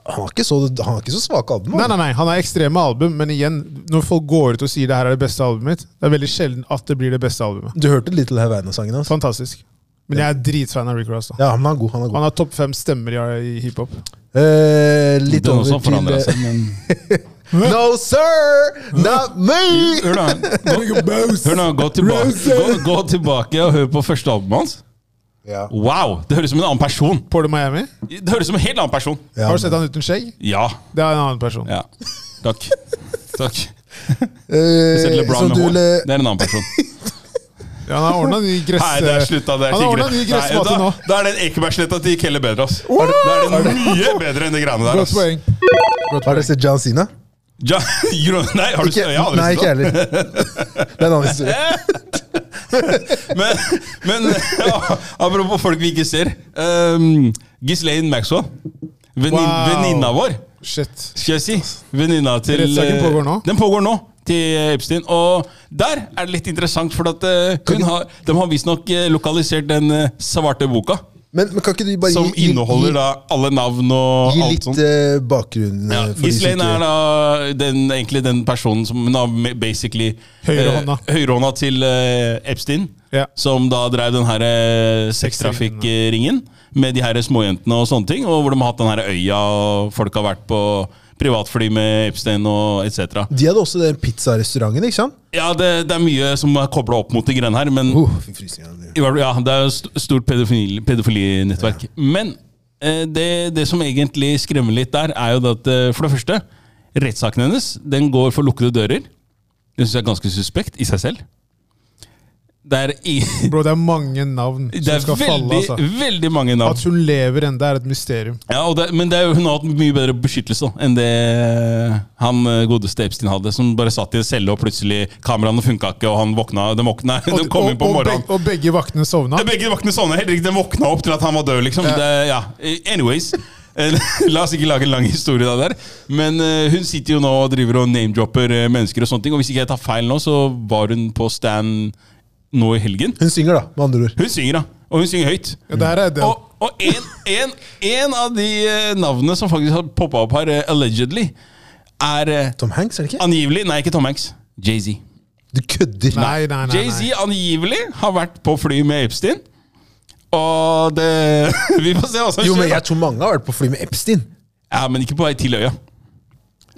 B: Han har ikke så, han har ikke så svake album.
D: Nei,
B: han.
D: nei, nei, Han har ekstreme album, men igjen, når folk går ut og sier det her er det beste albumet mitt, det er veldig sjelden at det blir det beste albumet.
B: Du hørte Little Havana-sangen hans?
D: Fantastisk. Men jeg er dritfan av Rick Ross. da.
B: Ja, men han er god. Han er god.
D: Han har topp fem stemmer i, i hiphop.
B: Eh, litt
C: Den
B: over
C: også har forandra
B: til
D: altså.
B: eh,
C: seg, men
B: No, sir! Not me!
C: Hør nå, gå, hør nå gå, tilbake, gå, gå tilbake og hør på første albumet hans.
B: Ja.
C: Wow! Det høres ut som en annen person.
D: Paul Miami.
C: Det høres ut som en helt annen person.
B: Ja,
D: Har du sett
B: men-
D: han uten skjegg?
C: Ja.
D: Det er en annen person.
C: ja. Takk. Takk.
B: Eh,
C: Sett LeBron
B: så
C: med
B: du
C: hår.
B: le-
C: Det er en annen person.
D: Ja, han har ordna ny gress...
C: Nei, det er slutta. Det er
D: han har
C: ikke
D: ordna ny
C: greit. Nei,
D: gressmatte
C: da,
D: nå.
C: da er den Ekebergsletta til Kelle bedre, ass. Da er den mye bedre enn de greiene der,
D: Godt
C: ass.
D: poeng. Godt
B: Har
D: poeng.
B: dere sett John Sina?
C: Ja, jo, nei, har du
B: Ikke,
C: sett ja, har du
B: nei,
C: sett
B: ikke
C: det?
B: jeg heller. Det er en annen historie.
C: Men, men ja, apropos folk vi ikke ser. Um, Ghislaine Maxwell. Venin,
D: Wow.
C: Venninna vår,
D: Shit.
C: skal jeg si. Venninna til
D: Rettssaken
C: eh,
D: pågår nå?
C: Den pågår nå, til Epstein. Og der er det litt interessant, for at eh, hun har, de har visstnok eh, lokalisert den eh, svarte boka.
B: Men, men kan ikke du bare
C: Som
B: gi- gi-
C: inneholder da alle navn og
B: Gi
C: alt
B: litt
C: sånt.
B: eh, bakgrunn. eh,
C: Ja,
B: for de som ikke-
C: Ghislaine er da den, egentlig den personen som hun har me- basically
D: Høyrehånda.
C: eh, høyrehånda til eh, Epstein.
D: Ja.
C: Som da drev den her eh, sextrafikkringen med de her småjentene og sånne ting. Og hvor de har hatt den her øya, og folk har vært på privatfly med Epstein og etc.
B: De hadde også den pizzarestauranten, ikke sant?
C: Ja, det, det er mye som er kobla opp mot de greiene her, men
B: Uh, fikk frysninger av det.
C: i hvert fall, ja, det er jo st- stort pedofili- pedofilinettverk. Men eh, det, det som egentlig skremmer litt der, er jo det at eh, for det første, rettssaken hennes den går for lukkede dører. Det syns jeg er ganske suspekt i seg selv. Det er, i,
D: Bro, det er mange navn
C: det
D: som
C: er
D: skal
C: veldig,
D: falle, altså.
C: veldig mange navn.
D: At hun lever ennå, er et mysterium.
C: Ja, og det, men det er jo, hun har hatt mye bedre beskyttelse da, enn det han eh, godeste Epstein hadde, som bare satt i en celle, og plutselig kameraene funka ikke, og han våkna, de, våkna, de kom inn på
D: og,
C: morgenen.
D: begge, og begge vaktene sovna.
C: Ja, Begge vaktene sovna helt riktig. Den våkna opp til at han var død, liksom. Det, ja. Anyways. Eh, La oss ikke lage en lang historie av det der. Men eh, hun sitter jo nå og driver og name-dropper eh, mennesker og sånne ting. Og hvis ikke jeg tar feil nå, så var hun på stand nå i helgen.
B: Hun synger, da, med andre ord.
C: Hun synger, da. Og hun synger høyt.
D: Ja, det her er det.
C: Og, og en, en, en av de eh, navnene som faktisk har poppa opp her, eh, allegedly, er eh,
B: Tom Hanks, er det ikke?
C: angivelig Nei, ikke Tom Hanks. Jay-Z.
B: Du kødder!
D: Nei, nei, nei. nei.
C: Jay-Z angivelig har vært på fly med Epstein. Og det Vi får se hva som
B: Jo, men
C: skjer.
B: jeg tror mange har vært på fly med Epstein.
C: Ja, men ikke på vei til øya.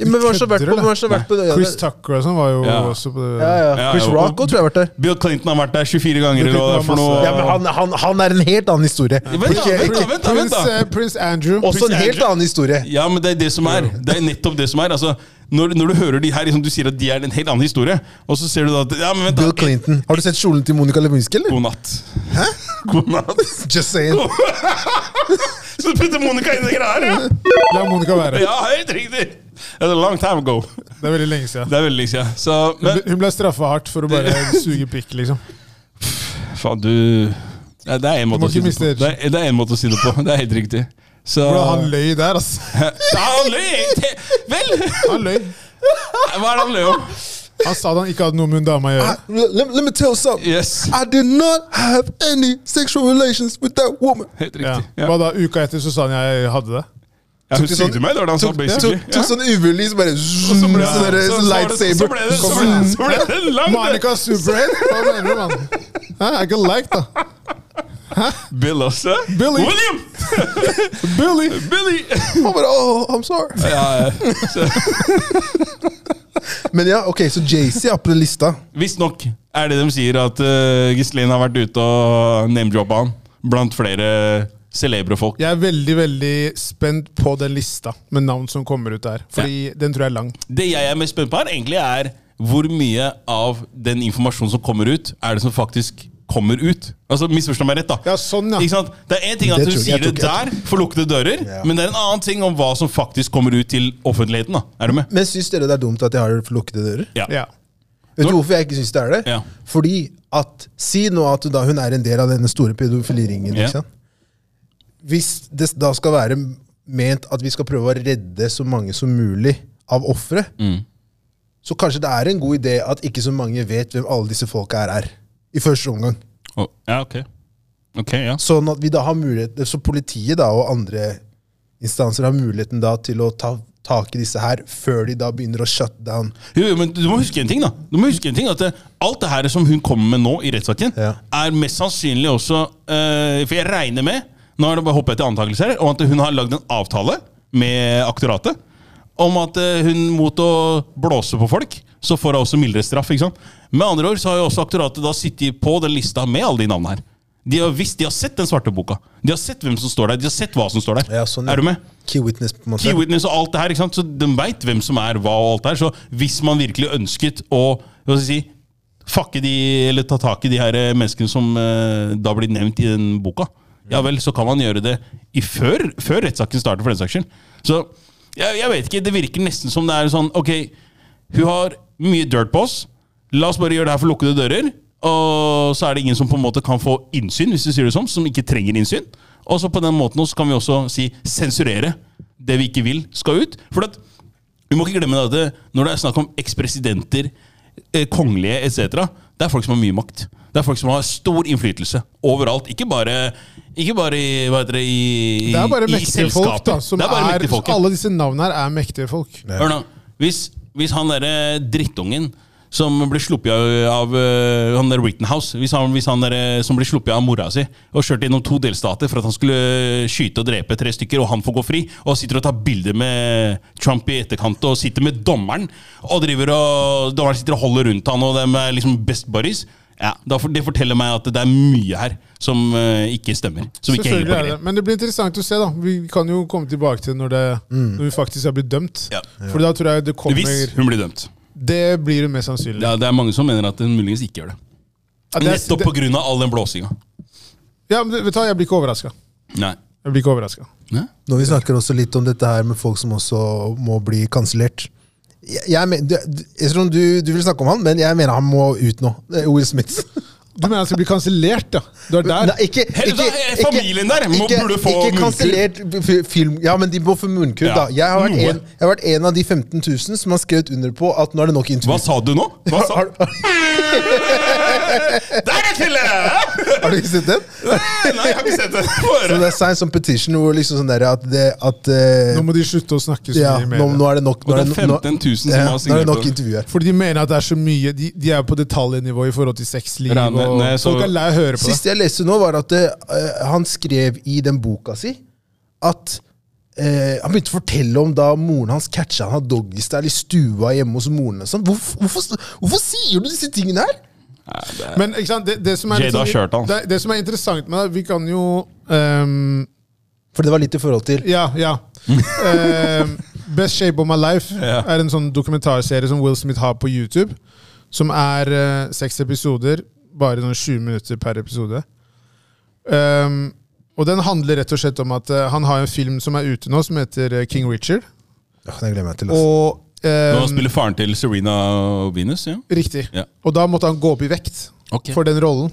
B: Ja, men hvem har så vært på,
D: Kødder du,
B: hvem har så vært på ja,
D: Chris
B: det-
D: Tucker og sånn var jo
C: Ja.
D: også på det.
B: ja, ja.
C: Ja,
B: Chris
C: og-
B: Rock også tror jeg har vært der.
C: Bill Clinton har vært der 24 ganger.
D: Bill
C: Eller hva det er for
D: Clinton
C: noe.
D: har
B: Ja, men han, han, han er en helt annen historie.
C: Vent da,
B: Ikke-
C: vent da,
B: ikke-
C: vent da, vent
D: Prince,
C: da.
D: eh, Prince Andrew.
B: Også en helt annen historie.
C: Ja, men det er det som er. Det er nettopp det som er. Altså, når, når du hører de her, liksom, du sier at de er en helt annen historie, og så ser du da at ja, men vent da.
B: Bill Clinton. Har du sett kjolen til Monica Lewinsky, eller?
C: God natt. Hæ? God natt.
B: Just saying.
C: Så putter Monica inn i greia her, ja!
D: La Monica være.
C: Ja, helt riktig! That's a long time ago.
D: Det er veldig lenge siden.
C: Det er veldig lenge siden. Så,
D: Hun
C: men
D: ble- Hun ble straffa hardt for å bare suge pikk, liksom.
C: faen, du Nei, Det er én måte,
D: må
C: å si
D: ikke
C: det på.
D: miste
C: Det er- det er en måte å si det på. Det er helt riktig. Så
D: Hvordan han løy der, altså.
C: Ja, han løy! Vel!
D: Han løy.
C: Hva er det han løy om?
D: Han sa at han ikke hadde noe med hun dama å gjøre.
B: Let, let me tell you something.
C: Yes.
B: I did not have any sexual relations with that woman.
C: Helt
D: Ja.
C: riktig. Ja.
D: Hva da, Uka etter så sa han jeg hadde det.
C: Ja, hun
B: Tok det
C: sugde meg, det var det han sa,
B: Tok,
C: basically.
B: tok, tok
C: Ja.
B: sånn uvillig, så bare zoom,
C: Så
D: eh,
C: ble-
B: sånn der, sånn
C: så- så var det- Så
B: lightsaber.
C: ble det, sånn. så
B: Kom
C: ble det,
B: igjen.
C: så ble det langt!
D: Monica Superhead? Hva mener du, mann? Hæ, I got like, da.
C: Bill også.
D: Billy.
C: William!
D: Billy!
C: Billy!
B: Han bare, oh, I'm sorry.
C: Ja, så
B: Men ja, ok, så Jay-Z er på den lista.
C: Visstnok er det de sier, at uh, Gislin har vært ute og name-jobba han blant flere celebre folk.
D: Jeg er veldig veldig spent på den lista med navn som kommer ut der. Fordi den tror jeg er lang.
C: Det jeg er mest spent på her, egentlig er hvor mye av den informasjonen som kommer ut, er det som faktisk kommer ut? Altså, Misforstå meg rett, da.
D: Ja, sånn, ja.
C: Ikke sant? Det er én ting at
B: Det
C: du
B: tror jeg-
C: sier
B: jeg
C: det
B: tror ikke-
C: der for lukkede dører,
B: Ja.
C: men det er en annen ting om hva som faktisk kommer ut til offentligheten. da. Er du med?
B: Men syns dere det er dumt at jeg har for lukkede dører?
C: Ja.
D: Ja.
B: Vet du hvorfor jeg ikke syns det er det?
C: Ja.
B: Fordi at, Si nå at da hun er en del av denne store pedofiliringen.
C: Ja.
B: ikke sant? Hvis det da skal være ment at vi skal prøve å redde så mange som mulig av ofre, så kanskje det er en god idé at ikke så mange vet hvem alle disse folka er, er. I første omgang.
C: Og- ja ok. Ok, ja.
B: Sånn at vi da har mulighet, så politiet da og andre instanser har muligheten da til å ta tak i disse her før de da begynner å shut down.
C: Jo, jo, men du må huske en ting, da. Du må huske en ting At det, alt det her som hun kommer med nå i rettssaken,
B: Ja.
C: er mest sannsynlig også eh, For jeg regner med Nå er det bare å hoppe etter antakelser her, om at hun har lagd en avtale med aktoratet om at eh, hun mot å blåse på folk, så får hun også mildere straff. ikke sant? Med andre ord så har jo også aktoratet da sittet på den lista med alle de navnene her. De har visst, de har sett den svarte boka. De har sett hvem som står der. De har sett hva som står der.
B: Ja, sånn, ja.
C: Er du med?
B: Key witness, på en måte.
C: Key witness og alt det her, ikke sant? så de veit hvem som er hva og alt det her. Så hvis man virkelig ønsket å hva skal jeg si, fucke de, eller ta tak i de her eh, menneskene som eh, da blir nevnt i den boka, ja vel, så kan man gjøre det i før, før rettssaken starter, for den saks skyld. Så jeg, jeg vet ikke, det virker nesten som det er sånn Ok, hun har mye dirt på oss. La oss bare gjøre det her for lukkede dører. Og så er det ingen som på en måte kan få innsyn, hvis du sier det sånn, som ikke trenger innsyn. Og så på den måten også kan vi også si sensurere det vi ikke vil skal ut. For at, vi må ikke glemme det at det, når det er snakk om ekspresidenter, eh, kongelige etc., det er folk som har mye makt. Det er folk som har stor innflytelse overalt. Ikke bare, ikke bare i, hva heter det, i,
D: Det er bare
C: i
D: mektige folk, da.
C: selskapet.
D: Som
C: Det er bare
D: er,
C: mektige folk, ja.
D: alle disse navnene her er mektige folk.
C: Hør nå, hvis, hvis han derre drittungen som ble sluppet av, av eh, han der Rittenhouse Hvis han, hvis han der, som ble sluppet av mora si og kjørte gjennom to delstater for at han skulle eh, skyte og drepe tre stykker, og han får gå fri, og sitter og tar bilder med Trump i etterkant og sitter med dommeren og driver og Dommeren sitter og holder rundt han, og de er liksom best buddies ja, da for- Det forteller meg at det er mye her som eh, ikke stemmer. Som ikke henger
D: Selvfølgelig
C: på
D: er det.
C: greip.
D: Men det blir interessant å se, da. Vi kan jo komme tilbake til når, det,
B: Mm.
D: når vi faktisk har blitt dømt.
C: Ja.
D: For da tror jeg det
C: Hvis
D: kommer
C: hun blir dømt.
D: Det blir det mest sannsynlig.
C: Ja, det er mange som mener at hun muligens ikke gjør det.
D: Ja, det er-
C: Nettopp
D: det-
C: pga. all den blåsinga.
D: Ja, men vet du hva, jeg blir ikke overraska.
C: Nei.
D: Jeg blir ikke overraska.
B: Når vi snakker også litt om dette her med folk som også må bli kansellert. Jeg, jeg, men- du, du- jeg tror du, du vil snakke om han, men jeg mener han må ut nå. Det er Will Smith.
D: Du mener han skal bli kansellert, ja? Du er der?
B: Nei, ikke,
C: Hele
B: ikke,
C: da- familien der må-
B: ikke,
C: burde få
B: ikke kansellert f- film... Ja, men de må få munnkurv,
C: Ja,
B: da. Jeg har, vært
C: noe.
B: en, jeg har vært en av de 15 000 som har skrevet under på at nå er det nok intervju.
C: Hva sa du nå? Hva sa?
B: Har, har,
C: Der er Tille!
B: har du ikke sett den?
C: Nei, jeg har ikke sett det.
B: Så
C: Bare.
B: det er sign som petition hvor liksom sånn der at, det, at eh,
D: Nå må de slutte å snakke så
B: ja,
D: mye i
B: nå,
D: media.
B: nå er det nok. Nå
C: Og
B: er
C: det er
B: det, no- nå,
C: 15 000 som
B: ja,
C: har
B: nå er
C: signert
B: det
C: på
B: nok
C: det.
B: intervju her.
D: Fordi de mener at det er så mye De, de er på detaljnivå i forhold til sexliv.
C: Rane,
D: og
C: nei, så-
D: Folk er lei av å høre på det.
B: Siste jeg leste nå, var at eh, han skrev i den boka si at eh, han begynte å fortelle om da moren hans catcha han hadde doggystyle i stua hjemme hos moren. og Sånn. Hvorfor, hvorfor, hvorfor sier du disse tingene her?
D: Men ikke sant, det, det, som er litt
C: Jada
D: sånn-
C: kjørte han.
D: det, det som er interessant med det, vi kan jo ehm,
B: For det var litt i forhold til
D: Ja, ja. Ehm, Best Shape of My Life er en sånn dokumentarserie som Will Smith har på YouTube. Som er eh, seks episoder, bare sånn 20 minutter per episode. Ehm, og den handler rett og slett om at eh, han har en film som er ute nå, som heter eh, King Richard.
B: Åh, Det gleder jeg meg til. altså. ass.
D: Og
C: Nå
D: ehm,
C: spiller faren til Serena Venus, ja.
D: Riktig.
C: Ja.
D: Og da måtte han gå opp i vekt
C: Ok.
D: for den rollen.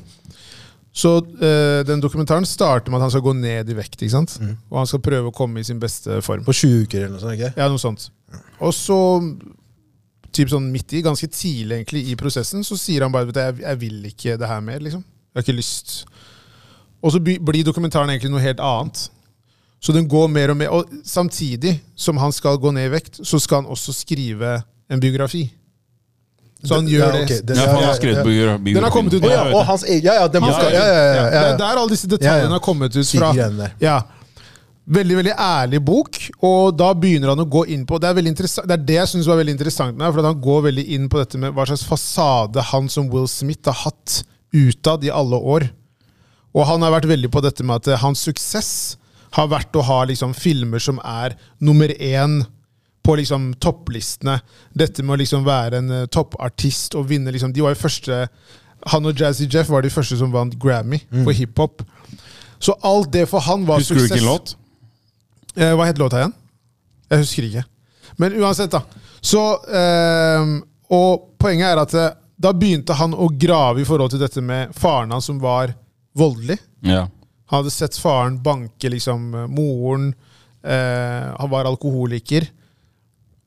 D: Så eh, den dokumentaren starter med at han skal gå ned i vekt. ikke sant?
B: Mm.
D: Og han skal prøve å komme i sin beste form.
B: På 20 uker eller noe sånt. ikke?
D: Ja, noe sånt. Og så, typ sånn midt i, ganske tidlig egentlig i prosessen, så sier han bare at jeg, jeg vil ikke det her mer, liksom. Jeg har ikke lyst. Og så by- blir dokumentaren egentlig noe helt annet. Så den går mer og mer. Og samtidig som han skal gå ned i vekt, så skal han også skrive en biografi. Så han
B: Det-
D: gjør
B: ja,
D: det.
B: ok, det-
C: Ja, for han
B: ja,
C: har skrevet
B: ja.
C: biografi.
D: Den har kommet ut nå,
B: Å ja,
C: jeg vet
B: og
C: det.
B: hans egen, ja, ja, den
D: Ja,
B: boka.
D: ja,
B: Ja, ja, ja,
D: Det
B: ja,
D: er
B: ja.
D: der alle disse
B: Ja,
D: detaljene
B: ja.
D: har kommet ut
B: Syke
D: fra.
B: greiene der.
D: Ja. Veldig veldig ærlig bok, og da begynner han å gå inn på Det er, veldig interessant- det, er det jeg syns var veldig interessant med det, for at han går veldig inn på dette med hva slags fasade han som Will Smith har hatt utad i alle år. Og han har vært veldig på dette med at eh, hans suksess har vært å ha liksom filmer som er nummer én på liksom topplistene. Dette med å liksom være en eh, toppartist og vinne liksom, De var jo første Han og Jazzy Jeff var de første som vant Grammy for hiphop. Så alt det for han var
C: Mm. Husker du
D: suksess.
C: ikke en låt?
D: Eh, hva het låta igjen? Jeg husker ikke. Men uansett, da. Så ehm, Og poenget er at eh, da begynte han å grave i forhold til dette med faren hans som var voldelig.
C: Ja.
D: Han hadde sett faren banke liksom eh, moren. Eh, han var alkoholiker.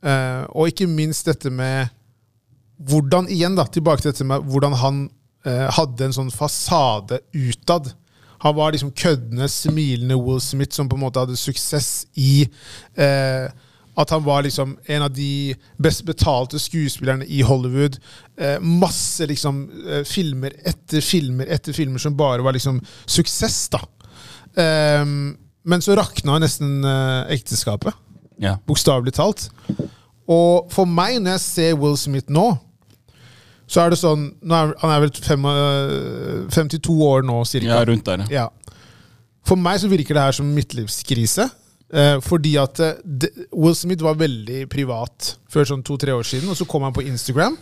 D: Eh, og ikke minst dette med hvordan igjen da, tilbake til dette med hvordan han eh, hadde en sånn fasade utad. Han var liksom køddende, smilende Will Smith som på en måte hadde suksess i eh, at han var liksom en av de best betalte skuespillerne i Hollywood. Eh, masse liksom eh, filmer etter filmer etter filmer som bare var liksom suksess, da. Eh, men så rakna jo nesten eh, ekteskapet
C: ja.
D: bokstavelig talt. Og for meg, når jeg ser Will Smith nå, så er det sånn nå er, Han er vel fem, øh, 52 år nå,
C: Ja,
D: cirka.
C: rundt der, ja.
D: Ja. For meg så virker det her som midtlivskrise. eh, fordi at eh, det, Will Smith var veldig privat før sånn to-tre år siden, og så kom han på Instagram.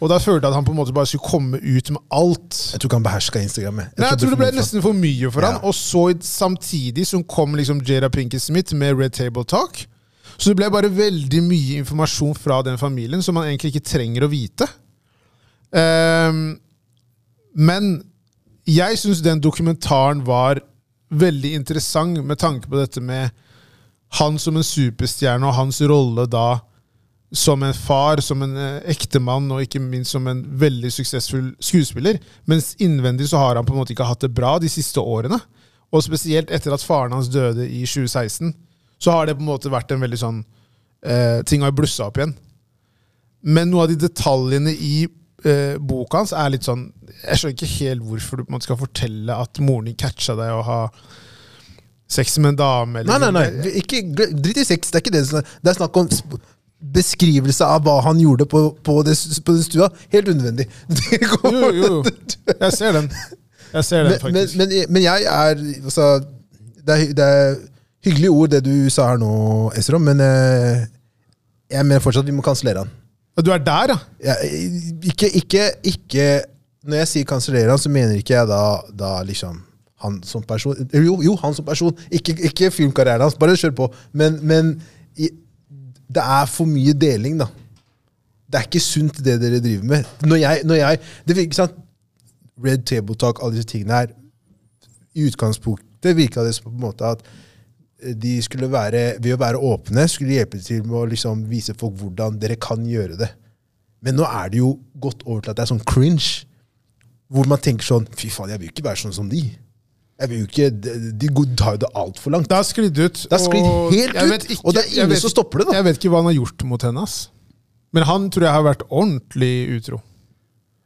D: Og da følte jeg at han på en måte bare skulle komme ut med alt.
B: Jeg tror ikke han beherska Instagram. jeg. Jeg
D: Nei, jeg tror det
B: for
D: ble
B: mye for han.
D: nesten for mye for han.
B: Ja.
D: Og så i- samtidig som kom liksom Jada Pinkett Smith med Red Table Talk. Så det ble bare veldig mye informasjon fra den familien som man egentlig ikke trenger å vite. Ehm, men jeg syns den dokumentaren var veldig interessant med tanke på dette med han som en superstjerne og hans rolle da som en far, som en eh, ektemann og ikke minst som en veldig suksessfull skuespiller. Mens innvendig så har han på en måte ikke hatt det bra de siste årene. Og spesielt etter at faren hans døde i 2016, så har det på en måte vært en veldig sånn eh, Ting har blussa opp igjen. Men noe av de detaljene i eh, boka hans er litt sånn Jeg skjønner ikke helt hvorfor du på en måte skal fortelle at moren din catcha deg og ha sex med en dame.
B: Nei,
D: Eller
B: nei, nei.
D: Liksom,
B: vi- Ikke, gl- drit i sex. Det er ikke det. som er- Det er snakk om sp- beskrivelse av hva han gjorde på, på, det, s- på den stua. Helt unødvendig. Det går-
D: Jo, jo, jo. Jeg ser den. Jeg ser den,
B: Men, men,
D: faktisk.
B: men, men jeg er altså, det, er, hy- det er hyggelige ord, det du sa her nå, Esrom, men eh, jeg mener fortsatt vi må kansellere han.
D: Du er der, ja?
B: Jeg, ikke, ikke, ikke Når jeg sier kansellere han, så mener ikke jeg da, da liksom han som person Jo, jo han som person. Ikke, ikke filmkarrieren hans. Bare kjør på. Men, men i, det er for mye deling, da. Det er ikke sunt, det dere driver med. Når jeg, når jeg det virker, ikke sant? Red Table Talk, alle disse tingene her I utgangspunktet virka det som på en måte at eh, de skulle være, ved å være åpne, skulle hjelpe til med å liksom vise folk hvordan dere kan gjøre det. Men nå er det jo gått over til at det er sånn cringe. Hvor man tenker sånn Fy faen, jeg vil jo ikke være sånn som de. Jeg vil jo ikke, De, de går- tar jo det altfor langt.
D: Det har sklidd ut.
B: Det har sklidd
D: og
B: helt
D: jeg
B: ut,
D: vet
B: og det er
D: jeg
B: ingen
D: vet
B: som
D: ikke-
B: stopper det, da.
D: Jeg vet ikke hva han har gjort mot henne. ass. Men han tror jeg har vært ordentlig utro.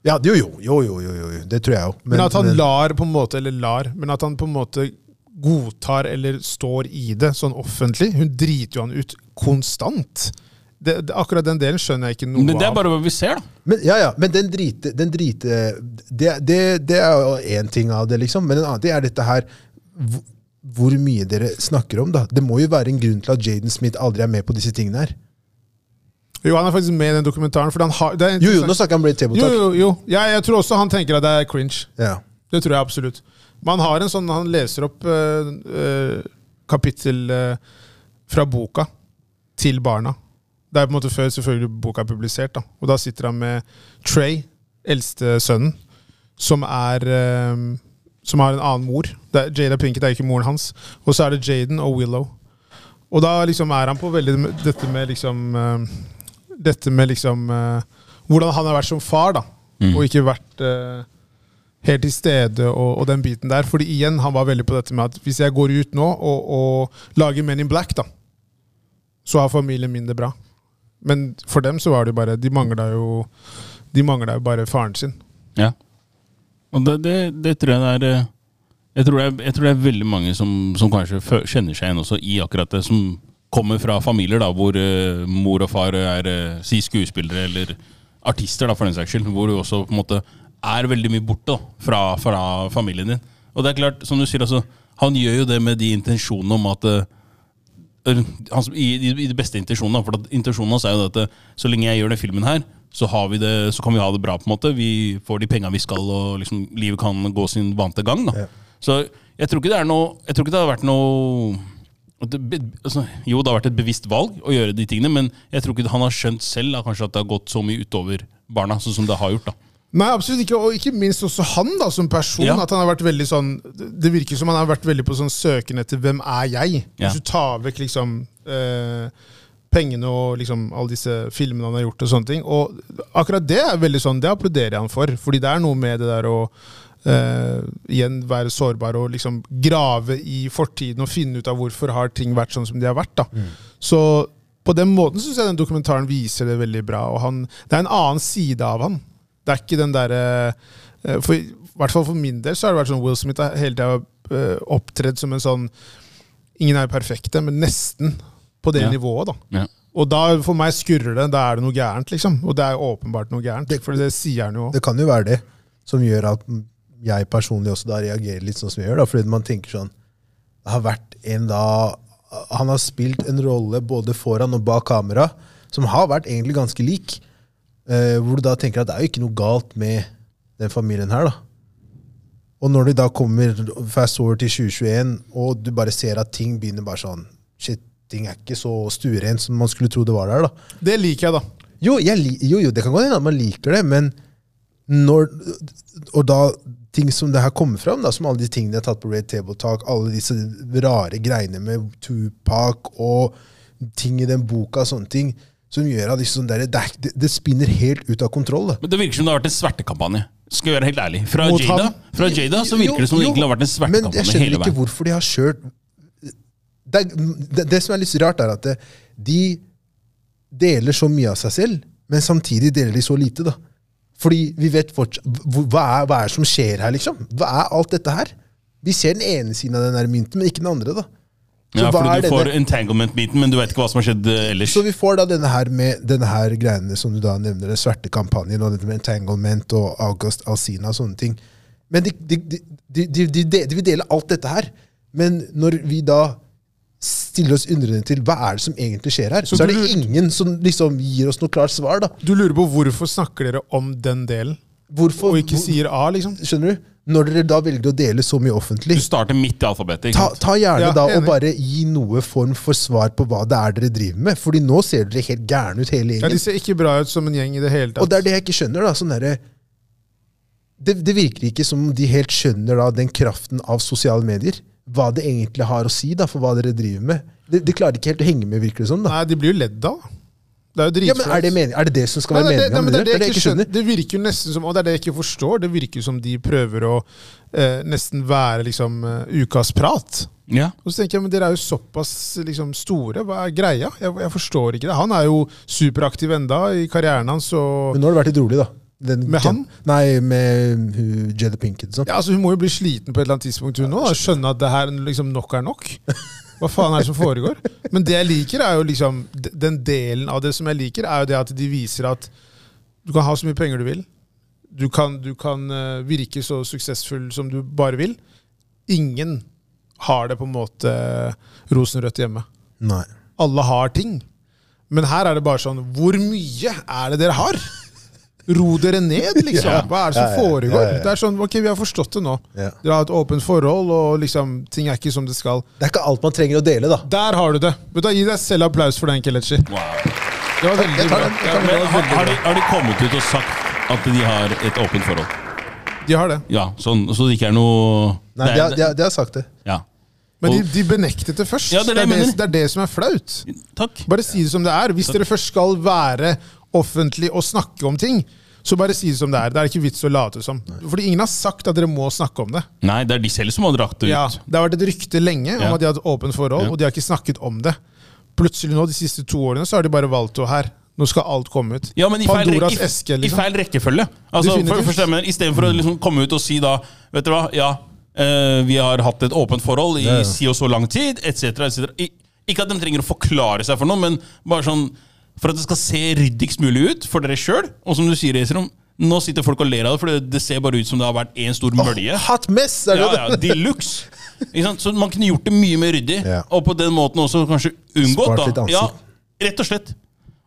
B: Ja, jo, jo, jo, jo, jo, jo, jo. Det tror jeg jo.
D: Men, at han lar på en måte, eller lar, men at han på en måte godtar eller står i det sånn offentlig. Hun driter jo han ut konstant. Det, det, akkurat den delen skjønner jeg ikke noe
C: Men det er
D: av.
C: bare hva vi ser, da.
B: Men, ja, ja, men den drite, den drite det, det, det er jo én ting av det, liksom. Men en annen ting er dette her hvor, hvor mye dere snakker om, da. Det må jo være en grunn til at Jaden Smith aldri er med på disse tingene her.
D: Jo, han er faktisk med i den dokumentaren. For han har, det er
B: Jo, jo, nå
D: interessant.
B: snakker jeg om Red Table
D: jo,
B: Talk.
D: jo, jo. Ja, jeg tror også han tenker at det er cringe.
B: Ja.
D: Det tror jeg absolutt. Men han har en sånn Han leser opp eh, eh, kapittel eh, fra boka til barna. Det er på en måte før selvfølgelig boka er publisert. da. Og da sitter han med Trey, eldste sønnen, som er eh, Som har en annen mor. Det er Jada Pinkett er ikke moren hans. Og så er det Jaden og Willow. Og da liksom er han på veldig med- dette med liksom eh, Dette med liksom eh, Hvordan han har vært som far, da. Og ikke vært eh, helt til stede og, og den biten der. Fordi igjen, han var veldig på dette med at hvis jeg går ut nå og, og lager Men in Black, da, så har familien min det bra. Men for dem så var det jo bare De mangla jo De manglet jo bare faren sin.
C: Ja. Og det, det, det tror jeg det er eh, Jeg tror det er, jeg tror det er veldig mange som, som kanskje fø- kjenner seg igjen også i akkurat det, som kommer fra familier da, hvor eh, mor og far er eh, si skuespillere eller artister, da, for den saks skyld, hvor du også på en måte er veldig mye borte da, fra, fra familien din. Og det er klart, som du sier, altså, han gjør jo det med de intensjonene om at eh, eller, han, som- i, i, I de beste intensjonene. da, For at intensjonen hans er jo det at eh, så lenge jeg gjør den filmen her, så, har vi det, så kan vi ha det bra. på en måte Vi får de penga vi skal, og liksom, livet kan gå sin vante gang. da
B: Ja.
C: Så jeg tror ikke det er noe Jeg tror ikke det har vært noe at det, be- altså, jo, det har vært et bevisst valg å gjøre de tingene, men jeg tror ikke han har skjønt selv da, kanskje at det har gått så mye utover barna. Sånn som det har gjort da
D: Nei, absolutt ikke. Og ikke minst også han da, som person.
C: Ja.
D: At han har vært veldig sånn Det virker som han har vært veldig på sånn søken etter 'hvem er jeg?'
C: Ja.
D: Hvis du tar vekk liksom eh, pengene og liksom alle disse filmene han har gjort, og sånne ting. Og akkurat det er veldig sånn, det applauderer jeg han for. Fordi det er noe med det der å eh, igjen være sårbar og liksom grave i fortiden og finne ut av hvorfor har ting vært sånn som de har vært. da. Så på den måten syns jeg den dokumentaren viser det veldig bra. og han, Det er en annen side av han. Det er ikke den derre eh, For i hvert fall for min del så har det vært sånn Will Smith har hele tida eh, opptredd som en sånn Ingen er jo perfekte, men nesten på det
C: Ja.
D: nivået, da.
C: ja.
D: Og da for meg skurrer det. Da er det noe gærent, liksom. Og det er jo åpenbart noe gærent, for det sier han jo òg.
B: Det kan jo være det som gjør at jeg personlig også da reagerer litt sånn som jeg gjør. da, Fordi man tenker sånn Det har vært en da Han har spilt en rolle både foran og bak kamera som har vært egentlig ganske lik. Eh, hvor du da tenker at det er jo ikke noe galt med den familien her, da. Og når de da kommer fast over til 2021, og du bare ser at ting begynner bare sånn Shit, ting er ikke så stuerent som man skulle tro det var der, da.
D: Det liker jeg, da.
B: Jo, jeg, li- jo, jo, det kan godt hende at man liker det, men når Og da ting som det her kommer fram, da, som alle de tingene jeg har tatt på Red Table Talk, alle disse rare greiene med Tupac og ting i den boka, sånne ting, som gjør at liksom det, er- det, er- det spinner helt ut av kontroll. Da.
C: Men det virker som det har vært en svertekampanje. Skal jeg være helt ærlig Fra
D: Mot
C: Jada,
D: han?
C: fra Jada så virker det som
B: Jo,
C: det
B: jo,
C: egentlig har vært
B: Men
C: en
B: jeg
C: svertekampanje
B: skjønner
C: hele
B: ikke
C: veien.
B: hvorfor de har kjørt det, er- det, det som er litt rart, er at det, de deler så mye av seg selv, men samtidig deler de så lite, da. Fordi vi vet fortsatt hv- hva er, hva er det som skjer her, liksom? Hva er alt dette her? Vi ser den ene siden av den her mynten, men ikke den andre, da. Så
C: Ja,
B: hva er
C: fordi du
B: denne-
C: får entanglement-biten, men du vet ikke hva som har skjedd eh, ellers.
B: så vi får da denne her med denne her greiene som du da nevner, den svarte kampanjen og dette med entanglement og August Alsina og sånne ting. Men de, de, de, de, de, de, de vil dele alt dette her. Men når vi da stiller oss undrende til hva er det som egentlig skjer her, så, er det
D: du-
B: ingen som liksom gir oss noe klart svar. da.
D: Du lurer på hvorfor snakker dere om den delen,
B: Hvorfor,
D: og ikke sier A, liksom?
B: Skjønner du? Når dere da velger å dele så mye
C: Du
B: offentlig,
C: starter midt i alfabetet. Ikke
B: ta,
C: sant?
B: ta gjerne
D: Ja,
B: da og
D: enig.
B: bare gi noe form for svar på hva det er dere driver med. Fordi nå ser dere helt gærne ut, hele
D: Ja,
B: gjengen.
D: De ser ikke bra ut som en gjeng i det hele tatt.
B: Og det er det jeg ikke skjønner. da, sånn derre- det, det virker ikke som om de helt skjønner da, den kraften av sosiale medier. Hva det egentlig har å si da, for hva dere driver med. De, de klarer ikke helt å henge med, virker det som. da.
D: Nei, de blir jo ledd av. Det er jo
B: Ja, men
D: dritflaut.
B: Er det meningen? Er det det som skal
D: Nei,
B: være
D: nei, det, nei,
B: meninga?
D: men
B: med Det,
D: det, er det,
B: jeg
D: jeg ikke skjønner.
B: skjønner.
D: det virker jo nesten som Og det er det jeg ikke forstår. Det virker jo som de prøver å eh, nesten være liksom eh, ukas prat.
C: Ja.
D: Og så tenker jeg, men Dere er jo såpass liksom, store. Hva er greia? Jeg, jeg forstår ikke det. Han er jo superaktiv enda i karrieren hans. og
B: Men nå har det vært litt rolig, da. Den
D: Med han?
B: Nei, med hun Jada Pinkett. Sånn.
D: Ja, altså Hun må jo bli sliten på et eller annet tidspunkt hun nå, og skjønne at det her liksom nok er nok. Hva faen er det som foregår? Men det jeg liker er jo liksom, d- den delen av det som jeg liker, er jo det at de viser at du kan ha så mye penger du vil. Du kan, du kan eh, virke så suksessfull som du bare vil. Ingen har det på en måte eh, rosenrødt hjemme.
B: Nei.
D: Alle har ting. Men her er det bare sånn Hvor mye er det dere har? Ro dere ned, liksom.
B: Ja.
D: Hva er det som
B: Ja, ja, ja,
D: foregår?
B: ja, ja.
D: Det er sånn, ok, Vi har forstått det nå.
B: Ja.
D: Dere har et åpent forhold, og liksom, ting er ikke som det skal.
B: Det er ikke alt man trenger å dele, da.
D: Der har du det! Vet du, hva, Gi deg selv applaus for den, Kelechi. Det
C: Wow.
D: var veldig
B: Jeg tar
D: bra.
B: den, jeg
D: Ja,
B: tar den.
D: det
C: Men
D: var
C: har,
D: veldig
C: har, de,
D: bra.
C: har de kommet ut og sagt at de har et åpent forhold?
D: De har det.
C: Ja, sånn, Så det ikke er noe
B: Nei, de har, de har, de har sagt det.
C: Ja.
D: Men de,
C: Og-
D: de benektet det først.
C: Ja, det er det jeg
D: det,
C: mener.
D: det er det som er flaut.
C: Takk.
D: Bare si det som det er. Hvis dere først skal være offentlig og snakke om ting, så bare si det som det er. Det er ikke vits å late som. Fordi ingen har sagt at dere må snakke om det.
C: Nei, det er de selv som har dratt det ut.
D: Ja, det har vært et rykte lenge om
C: Ja.
D: at de har hatt åpent forhold,
C: Ja.
D: og de har ikke snakket om det. Plutselig nå, de siste to årene, så har de bare valgt å her. Nå skal alt komme ut.
C: Ja, men i feil,
D: Pandoras
C: rekke, i,
D: eske,
C: i
D: liksom.
C: feil rekkefølge. Altså,
D: Definitivt.
C: for, for stemmer, I stedet for å liksom komme ut og si da Vet dere hva, ja, eh, vi har hatt et åpent forhold i
B: Ja, ja.
C: si og så lang tid, etc. Et ikke at de trenger å forklare seg for noe, men bare sånn for at det skal se ryddigst mulig ut for dere sjøl. Og som du sier, Esrom, nå sitter folk og ler av det, for det, det ser bare ut som det har vært én stor mølje.
B: Hot mess! Er det
C: Ja,
B: det?
C: ja, de luxe. Ikke sant? Så man kunne gjort det mye mer ryddig,
B: Ja.
C: og på den måten også kanskje unngått.
B: Spart litt
C: da.
B: ansikt.
C: Ja, rett og slett.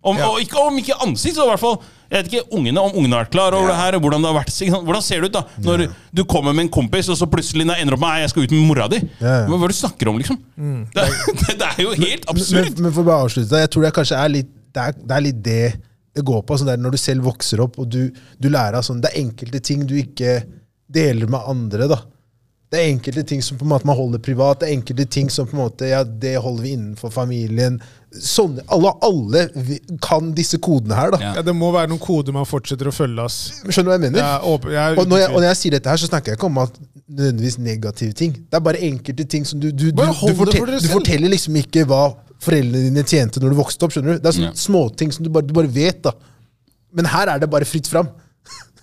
C: Om,
D: Ja.
C: og ikke, om ikke ansikt, så i hvert fall jeg vet ikke, ungene, om ungene har vært klar over det her. og Hvordan det har vært, ikke sant? Hvordan ser det ut da, når du kommer med en kompis, og så plutselig nei, ender opp med «Nei, jeg skal ut med mora di?
B: Ja, ja.
C: Hva, hva er det du snakker om, liksom? Det, er- det, det er jo helt absurd.
B: Men, men for å bare avslutte det, jeg tror det kanskje er litt det, er, det er litt det det går på. Sånn der, når du selv vokser opp og du, du lærer av sånn Det er enkelte ting du ikke deler med andre. da. Det er enkelte ting som på en måte man holder privat. Det er enkelte ting som på en måte, ja, det holder vi innenfor familien. Sånne, alle, alle vi- kan disse kodene her. da.
C: Ja.
D: Ja, det må være noen koder man fortsetter å følge, ass.
B: Skjønner du hva jeg mener?
D: Jeg er åpen, jeg er
B: Og når, jeg, og
D: uten
B: når
D: tvil.
B: jeg sier dette her, så snakker jeg ikke om at nødvendigvis negative ting. Det er bare enkelte ting som du Du, du,
D: Bare
B: du,
D: hold det for
B: fortel,
D: dere
B: du
D: selv.
B: forteller liksom ikke hva foreldrene dine tjente når du vokste opp. skjønner du? Det er
C: Ja.
B: sånne småting som du bare, du bare vet. da. Men her er det bare fritt fram.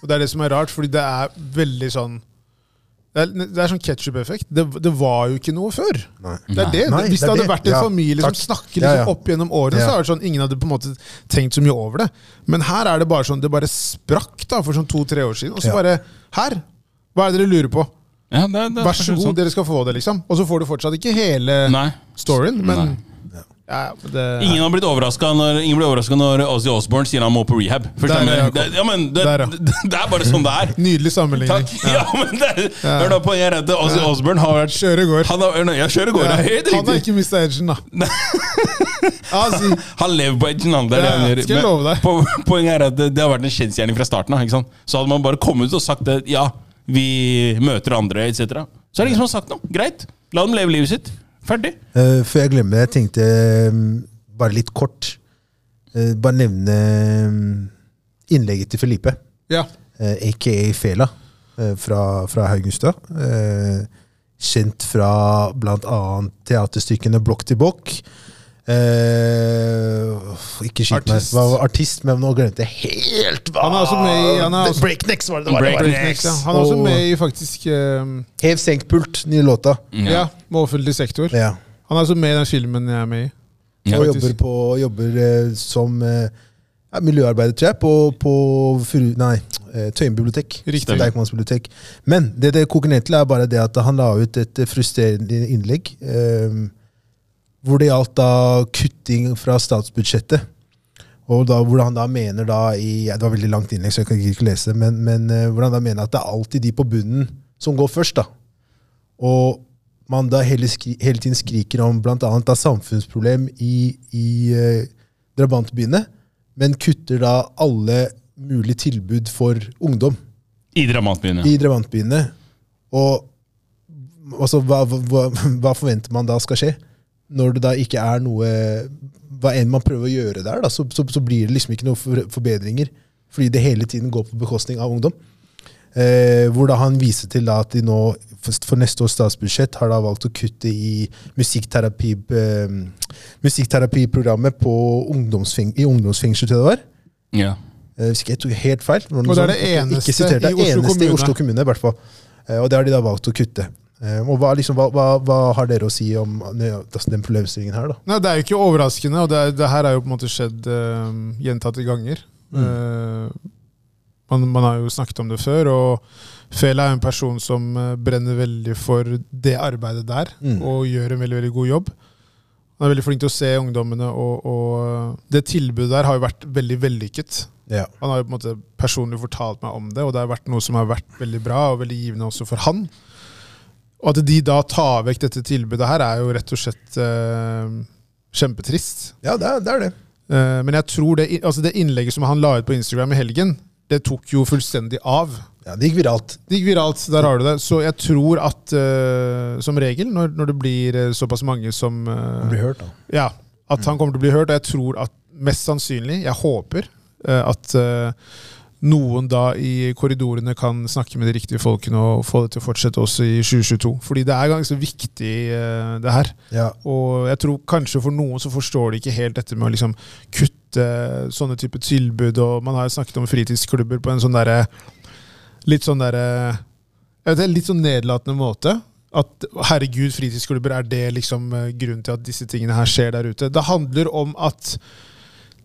D: Og det er det som er rart, fordi det er veldig sånn det er, det er sånn ketsjup-effekt. Det, det var jo ikke noe før. Det er det.
B: Nei,
D: Hvis
B: det
D: det
B: er
D: hadde
B: det.
D: vært en
B: Ja,
D: familie
B: takk.
D: som snakker
B: Ja,
D: liksom
B: ja.
D: opp gjennom årene, så
B: Ja.
D: er det sånn, ingen hadde på en måte tenkt så mye over det. Men her er det bare sånn, det bare sprakk da, for sånn to-tre år siden. Og så
B: Ja.
D: bare Her! Hva er det dere lurer på?
C: Ja, det er- det er
D: Vær så
C: kanskje sånn.
D: god, dere skal få det, liksom. Og så får du fortsatt ikke hele
C: Nei.
D: storyen, men ja, det,
C: Ingen har blitt overraska når, ingen blir overrasket når Ozzy Osbourne sier han må på rehab. Forstår
D: Der,
C: du?
D: Jakob.
C: det, ja, men det,
D: Der, ja.
C: det, det er bare sånn det er.
D: Nydelig sammenligning.
C: Takk. Ja, men det, er- Hør da på jeg er redd Ozzy Osbourne har vært
D: Kjøre går.
C: Han har, nei, jeg kjører går,
D: Ja,
C: det er helt
D: han har
C: riktig.
D: ikke mista edgen, da. Altså,
C: Han lever på edgen, han. Det er det han
D: Ja,
C: gjør.
D: skal jeg
C: Men
D: love deg.
C: po- Poenget er at det, det har vært en kjensgjerning fra starten av. ikke sant? Så hadde man bare kommet ut og sagt det, ja, vi møter andre, etc. Så er det ingen som har sagt noe. Greit. La dem leve livet sitt. Ferdig.
B: Eh, før jeg glemmer det, jeg tenkte mm, bare litt kort eh, Bare nevne mm, innlegget til Felipe,
D: ja.
B: eh, aka Fela, eh, fra, fra Haugustad. Eh, kjent fra bl.a. teaterstykkene Blokk til bokk. Eh, ikke skyt meg,
D: Artist.
B: hva var artist, men nå glemte jeg helt hva
D: Han er også med i- han er
C: Ah,
B: The
D: også-
B: Breaknecks var det det var.
C: Breaknecks.
D: Breakneck, ja. Han er også
B: Og-
D: med i faktisk eh,
B: Hev senk-pult, nye låta.
D: Ja, med offentlig sektor.
B: Ja.
D: Han er altså med i den filmen jeg er med i.
C: Ja,
B: og
D: faktisk.
B: jobber, på, jobber eh, som eh, ja, miljøarbeider, tror jeg, på, på Furu... Nei, eh, Tøyen bibliotek.
D: Riktig.
B: Deichmans bibliotek. Men det det koker ned til, er bare det at han la ut et eh, frustrerende innlegg. Eh, hvor det gjaldt da kutting fra statsbudsjettet. Og da, hvor han da mener da i ja, Det var veldig langt innlegg, så jeg kan ikke lese det. Men, men eh, hvor han da mener at det er alltid de på bunnen som går først. da. Og man da hele, skri, hele tiden skriker om bl.a. samfunnsproblem i, i eh, drabantbyene, men kutter da alle mulige tilbud for ungdom
C: I Dramantbyen, ja.
B: i drabantbyene. Og altså, hva, hva, hva forventer man da skal skje? Når det da ikke er noe Hva enn man prøver å gjøre der, da, så, så, så blir det liksom ikke noen for- forbedringer. Fordi det hele tiden går på bekostning av ungdom. Eh, hvor da han viser til da at de nå for, for neste års statsbudsjett har da valgt å kutte i musikkterapi, eh, musikkterapiprogrammet på ungdomsfeng, i ungdomsfengsel, tror jeg det var.
C: ja.
B: Eh, Hvis ikke jeg tok helt feil. var
D: Og det er
B: noe
D: det
B: sånt.
D: eneste
B: ikke sitert, det
D: i
B: er
D: Oslo
B: eneste i
D: kommune.
B: Oslo kommune. I hvert fall. Eh, Og det har de da valgt å kutte. Eh, Og hva, liksom, hva, hva, hva har dere å si om eh, den problemstillingen her, da?
D: Nei, Det er jo ikke overraskende, og det, er, det her er jo på en måte skjedd eh, gjentatte ganger.
B: Mm.
D: Eh, man, man har jo snakket om det før, og Fela er en person som eh, brenner veldig for det arbeidet der,
B: Mm.
D: og gjør en veldig, veldig god jobb. Han er veldig flink til å se ungdommene, og, og det tilbudet der har jo vært veldig vellykket.
B: Ja.
D: Han har jo på en måte personlig fortalt meg om det, og det har vært noe som har vært veldig bra og veldig givende også for han. Og at de da tar vekk dette tilbudet her, er jo rett og slett eh, kjempetrist.
B: Ja, det er det. Er det.
D: Eh, men jeg tror det, altså det innlegget som han la ut på Instagram i helgen, det tok jo fullstendig av.
B: Ja, det gikk viralt.
D: Det gikk viralt, der har du det. Så jeg tror at eh, som regel, når, når det blir eh, såpass mange som eh,
B: Blir hørt, da.
D: ja, at han kommer til å bli hørt. Og jeg tror at mest sannsynlig, jeg håper, eh, at eh, noen da i korridorene kan snakke med de riktige folkene og få det til å fortsette også i 2022. Fordi det er ganske viktig, eh, det her.
B: Ja.
D: Og jeg tror kanskje for noen så forstår de ikke helt dette med å liksom kutte sånne type tilbud. Og man har jo snakket om fritidsklubber på en sånn derre Litt sånn derre jeg vet, ikke, Litt sånn nedlatende måte. At herregud, fritidsklubber, er det liksom eh, grunnen til at disse tingene her skjer der ute? Det handler om at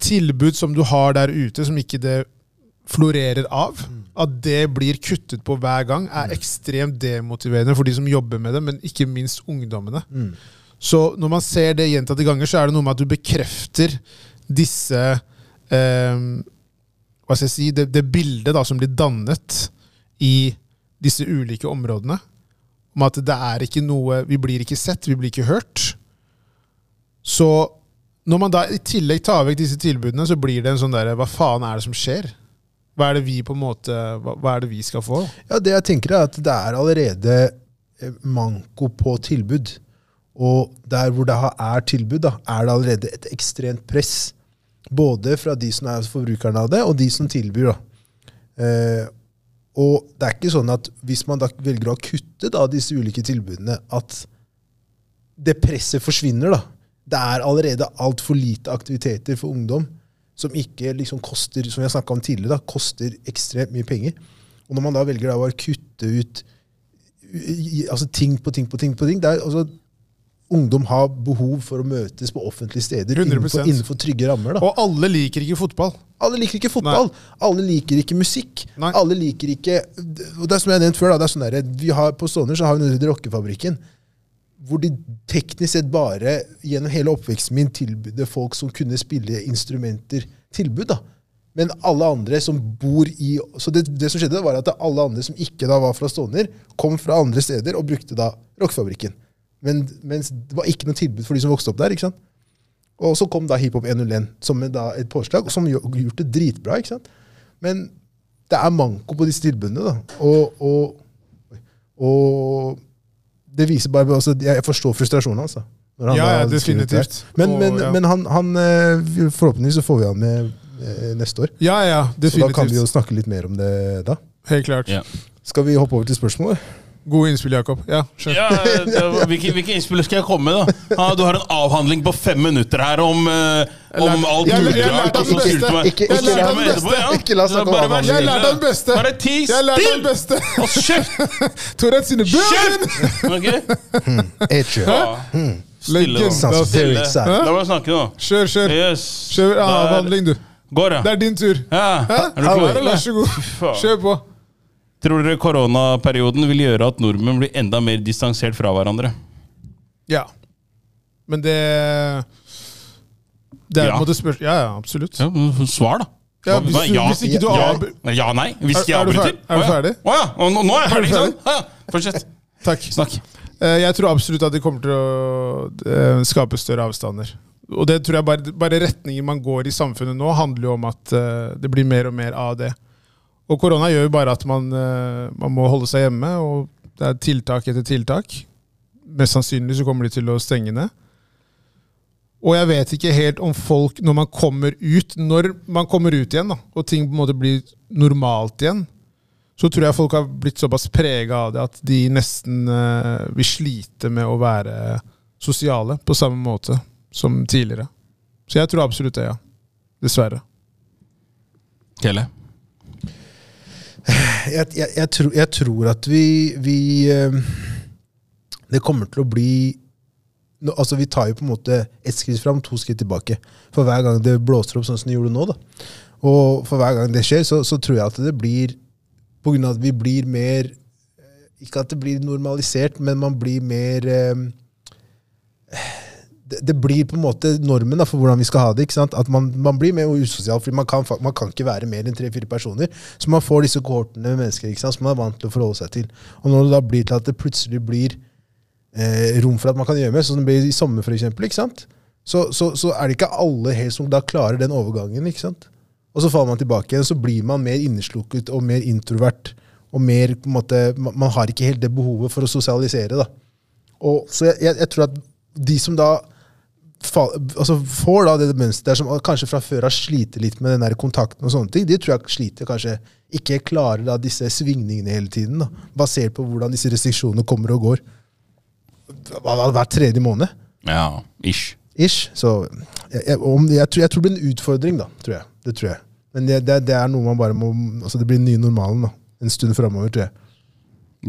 D: tilbud som du har der ute, som ikke det florerer av, at det blir kuttet på hver gang, er ekstremt demotiverende for de som jobber med det, men ikke minst ungdommene.
B: mm.
D: Så når man ser det gjentatte ganger, så er det noe med at du bekrefter disse eh, Hva skal jeg si Det, det bildet da, som blir dannet i disse ulike områdene. Om at det er ikke noe Vi blir ikke sett, vi blir ikke hørt. Så når man da i tillegg tar vekk disse tilbudene, så blir det en sånn derre Hva faen er det som skjer? Hva er det vi på en måte Hva, hva er det vi skal få?
B: Ja, det jeg tenker er at det er allerede eh, manko på tilbud. Og der hvor det har- er tilbud, da, er det allerede et ekstremt press. Både fra de som er forbrukerne av det, og de som tilbyr. Da. Eh, og det er ikke sånn at hvis man da velger å kutte da, disse ulike tilbudene, at det presset forsvinner. da. Det er allerede altfor lite aktiviteter for ungdom som ikke liksom koster som jeg snakket om tidligere, da, koster ekstremt mye penger. Og når man da velger da å bare kutte ut i- i- altså ting på ting på ting på ting det er, altså, Ungdom har behov for å møtes på offentlige steder innenfor,
D: 100%.
B: innenfor trygge rammer. da.
D: Og alle liker ikke fotball.
B: Alle liker ikke fotball. Alle liker ikke musikk.
D: Nei.
B: Alle liker ikke Og det er som jeg har nevnt før, da, det er sånn der, vi har, på Stovner så har vi den rockefabrikken. Hvor de teknisk sett bare gjennom hele oppveksten min tilbød folk som kunne spille instrumenter, tilbud. da. Men alle andre som bor i Så det, det som skjedde, var at alle andre som ikke da var fra Stovner, kom fra andre steder og brukte da rockefabrikken. Men, mens det var ikke noe tilbud for de som vokste opp der. ikke sant? Og så kom da hiphop 101 som en da et påslag, som gjør- gjort det dritbra. ikke sant? Men det er manko på disse tilbudene. da. Og, og, og det viser bare altså, Jeg forstår frustrasjonen hans. da. når han
D: Ja,
B: da
D: ja,
B: skriver ut det her.
D: definitivt.
B: Men,
D: Og,
B: men,
D: ja.
B: men han, han eh, forhåpentligvis så får vi han med eh, neste år.
D: Ja, ja,
B: Så da kan vi jo
D: definitivt.
B: snakke litt mer om det da.
D: Helt klart.
C: Ja.
B: Skal vi hoppe over til spørsmålet?
D: Gode innspill, Jakob. Ja, skjønt.
C: Ja, det var- hvilke, hvilke innspill skal jeg komme med, da? Ah, du har en avhandling på fem minutter her om, eh, om alt
D: jeg har
C: mulig
D: lært
C: rart.
D: den
C: og så
D: beste.
C: sier du til meg-
B: Ikke-
C: og så
D: ikke
C: sier du
D: la
C: til meg
D: den
C: etterpå,
B: beste.
C: ja.
B: Ikke la oss snakke om
C: Bare vær
B: avhandling.
D: Jeg har lært
C: stille.
D: den beste!
C: Bare ti
D: Jeg har lært
C: stille!
D: den beste!
C: Og kjeft!
D: Tourette sine bøker!
C: Kjeft! Ok?
B: Edge.
C: Ja. Stille,
D: Legend.
C: da.
B: Sounds very
C: Stille.
B: excited.
C: La meg snakke nå.
D: Kjør, kjør.
C: Yes.
D: Kjør
C: Der.
D: avhandling, du.
C: Går,
D: Det
C: ja.
D: er din tur.
C: ja. Er
D: Hæ?
C: du klar,
D: Vær
C: eller?
D: så god.
C: faen.
D: Kjør på.
C: Tror dere koronaperioden vil gjøre at nordmenn blir enda mer distansert fra hverandre?
D: Ja. Men det Det er
C: Ja.
D: på en måte spørsmål Ja, ja, absolutt.
C: Ja, Svar, da.
D: Ja,
C: Hva-
D: hvis,
C: hva-
D: du, hvis ikke du
C: ja,
D: avbr-
C: Nei, ja, nei. Hvis
D: Er-
C: ikke jeg
D: er du
C: avbryter.
D: fer- er
C: Å
D: du
C: ja.
D: ferdig?
C: Å ja. Og nå, nå er jeg
D: Er du
C: ferdig, ikke sant? Ja, ja. Fortsett.
D: Takk.
C: Snakk.
D: Eh, Jeg tror absolutt at det kommer til å eh, skape større avstander. Og det tror jeg bare, bare retningen man går i samfunnet nå, handler jo om at eh, det blir mer og mer av det. Og korona gjør jo bare at man, eh, man må holde seg hjemme, og det er tiltak etter tiltak. Mest sannsynlig så kommer de til å stenge ned. Og jeg vet ikke helt om folk, når man kommer ut Når man kommer ut igjen, da, og ting på en måte blir normalt igjen, så tror jeg folk har blitt såpass prega av det at de nesten eh, vil slite med å være sosiale på samme måte som tidligere. Så jeg tror absolutt det, ja. Dessverre.
C: Kjelle?
B: jeg, jeg, jeg, tror, jeg tror at vi, vi eh, Det kommer til å bli nå- Altså Vi tar jo på en måte ett skritt fram, to skritt tilbake. For hver gang det blåser opp sånn som det gjorde nå, da. og for hver gang det skjer, så, så tror jeg at det blir På grunn av at vi blir mer eh, Ikke at det blir normalisert, men man blir mer eh, det, det blir på en måte normen da, for hvordan vi skal ha det. ikke sant? At Man, man blir mer usosial, fordi man kan, fa- man kan ikke være mer enn tre-fire personer. Så man får disse kohortene med mennesker ikke sant? som man er vant til å forholde seg til. Og når det da blir til at det plutselig blir eh, rom for at man kan gjøre mer, sånn som det blir i sommer for eksempel, ikke sant? Så, så, så er det ikke alle helt som da klarer den overgangen. ikke sant? Og så faller man tilbake igjen, og så blir man mer inneslukket og mer introvert. og mer, på en måte, man, man har ikke helt det behovet for å sosialisere. da. Og, så jeg, jeg, jeg tror at de som da fa, altså får da det mønsteret som kanskje fra før har sliter litt med den der kontakten, og sånne ting, de tror jeg sliter kanskje ikke klarer da disse svingningene hele tiden, da, basert på hvordan disse restriksjonene kommer og går Hva da, hver tredje måned.
C: Ja, ish.
B: Ish. Så jeg, jeg, om, jeg, tror, jeg tror det blir en utfordring, da. tror jeg. Det tror jeg. Men det, det, det er noe man bare må altså Det blir den nye normalen da, en stund framover, tror jeg.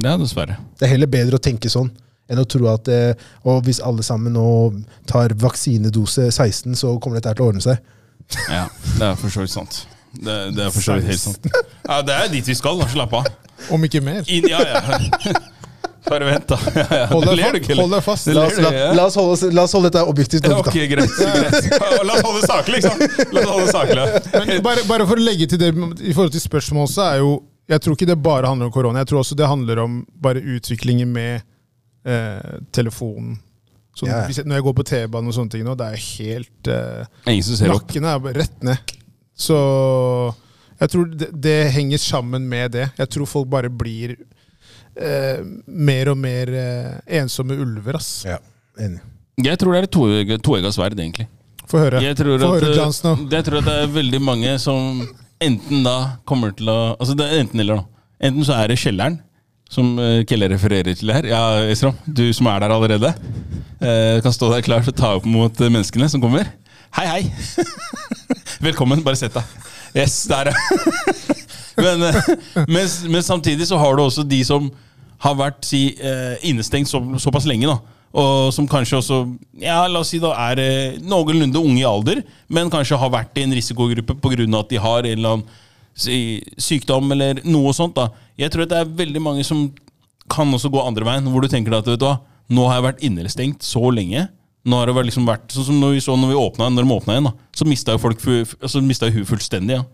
C: Ja, dessverre.
B: Det er heller bedre å tenke sånn enn å tro at eh, og hvis alle sammen nå tar vaksinedose 16, så kommer dette her til å ordne seg.
C: Ja, Det er for så vidt sant. Det, det er for så vidt helt sant. Ja, Det er dit vi skal. da, Slapp av.
D: Om ikke mer.
C: Inn, ja, ja. Bare vent, da. Ja, ja.
D: Hold
C: Det
D: deg
C: ler du
D: fa-
C: ikke, eller?
D: hold deg fast.
C: Det
B: La
C: ler
B: oss,
C: du,
B: la,
C: ja.
B: la oss, holde, oss- la oss holde dette objektivt.
C: Ja,
B: nå, da.
C: Ok, greit. greit. Ja, La oss holde det saklig, liksom. La oss holde det saklig.
D: Bare, bare for å legge til det i forhold til spørsmålet, så er jo Jeg tror ikke det bare handler om korona. Jeg tror også det handler om bare utviklingen med eh, telefonen. Så
B: Ja.
D: hvis jeg, når jeg går på T-banen og sånne ting nå, det er helt eh,
C: Ingen som ser opp.
D: Nakken er bare rett ned. Så jeg tror det, det henger sammen med det. Jeg tror folk bare blir eh, mer og mer eh, ensomme ulver, ass.
B: Ja, enig.
C: Jeg tror det er et toegg- toegga sverd, egentlig.
D: Få høre.
C: Jeg tror,
D: Få
C: at, eh,
D: høre, Jon Snow.
C: jeg tror at det er veldig mange som enten da kommer til å Altså det er enten eller, da. Enten så er det kjelleren, som eh, Kelle refererer til her. Ja, Isram, du som er der allerede, eh, kan stå der klar for å ta opp mot eh, menneskene som kommer. Hei, hei! Velkommen, bare sett deg. Yes, der er men, eh, men, men samtidig så har du også de som har vært si, eh, innestengt så, såpass lenge, da. Og som kanskje også ja, la oss si da, er eh, noenlunde unge i alder, men kanskje har vært i en risikogruppe pga. at de har en eller annen si, sykdom eller noe sånt. da. Jeg tror at det er veldig mange som kan også gå andre veien, hvor du tenker at vet du hva, nå har jeg vært innestengt så lenge. Nå har det vært liksom vært, sånn som når vi så når vi åpna, når de åpna igjen, da, så mista jo folk fu- altså, mistet jo huet fullstendig. ja.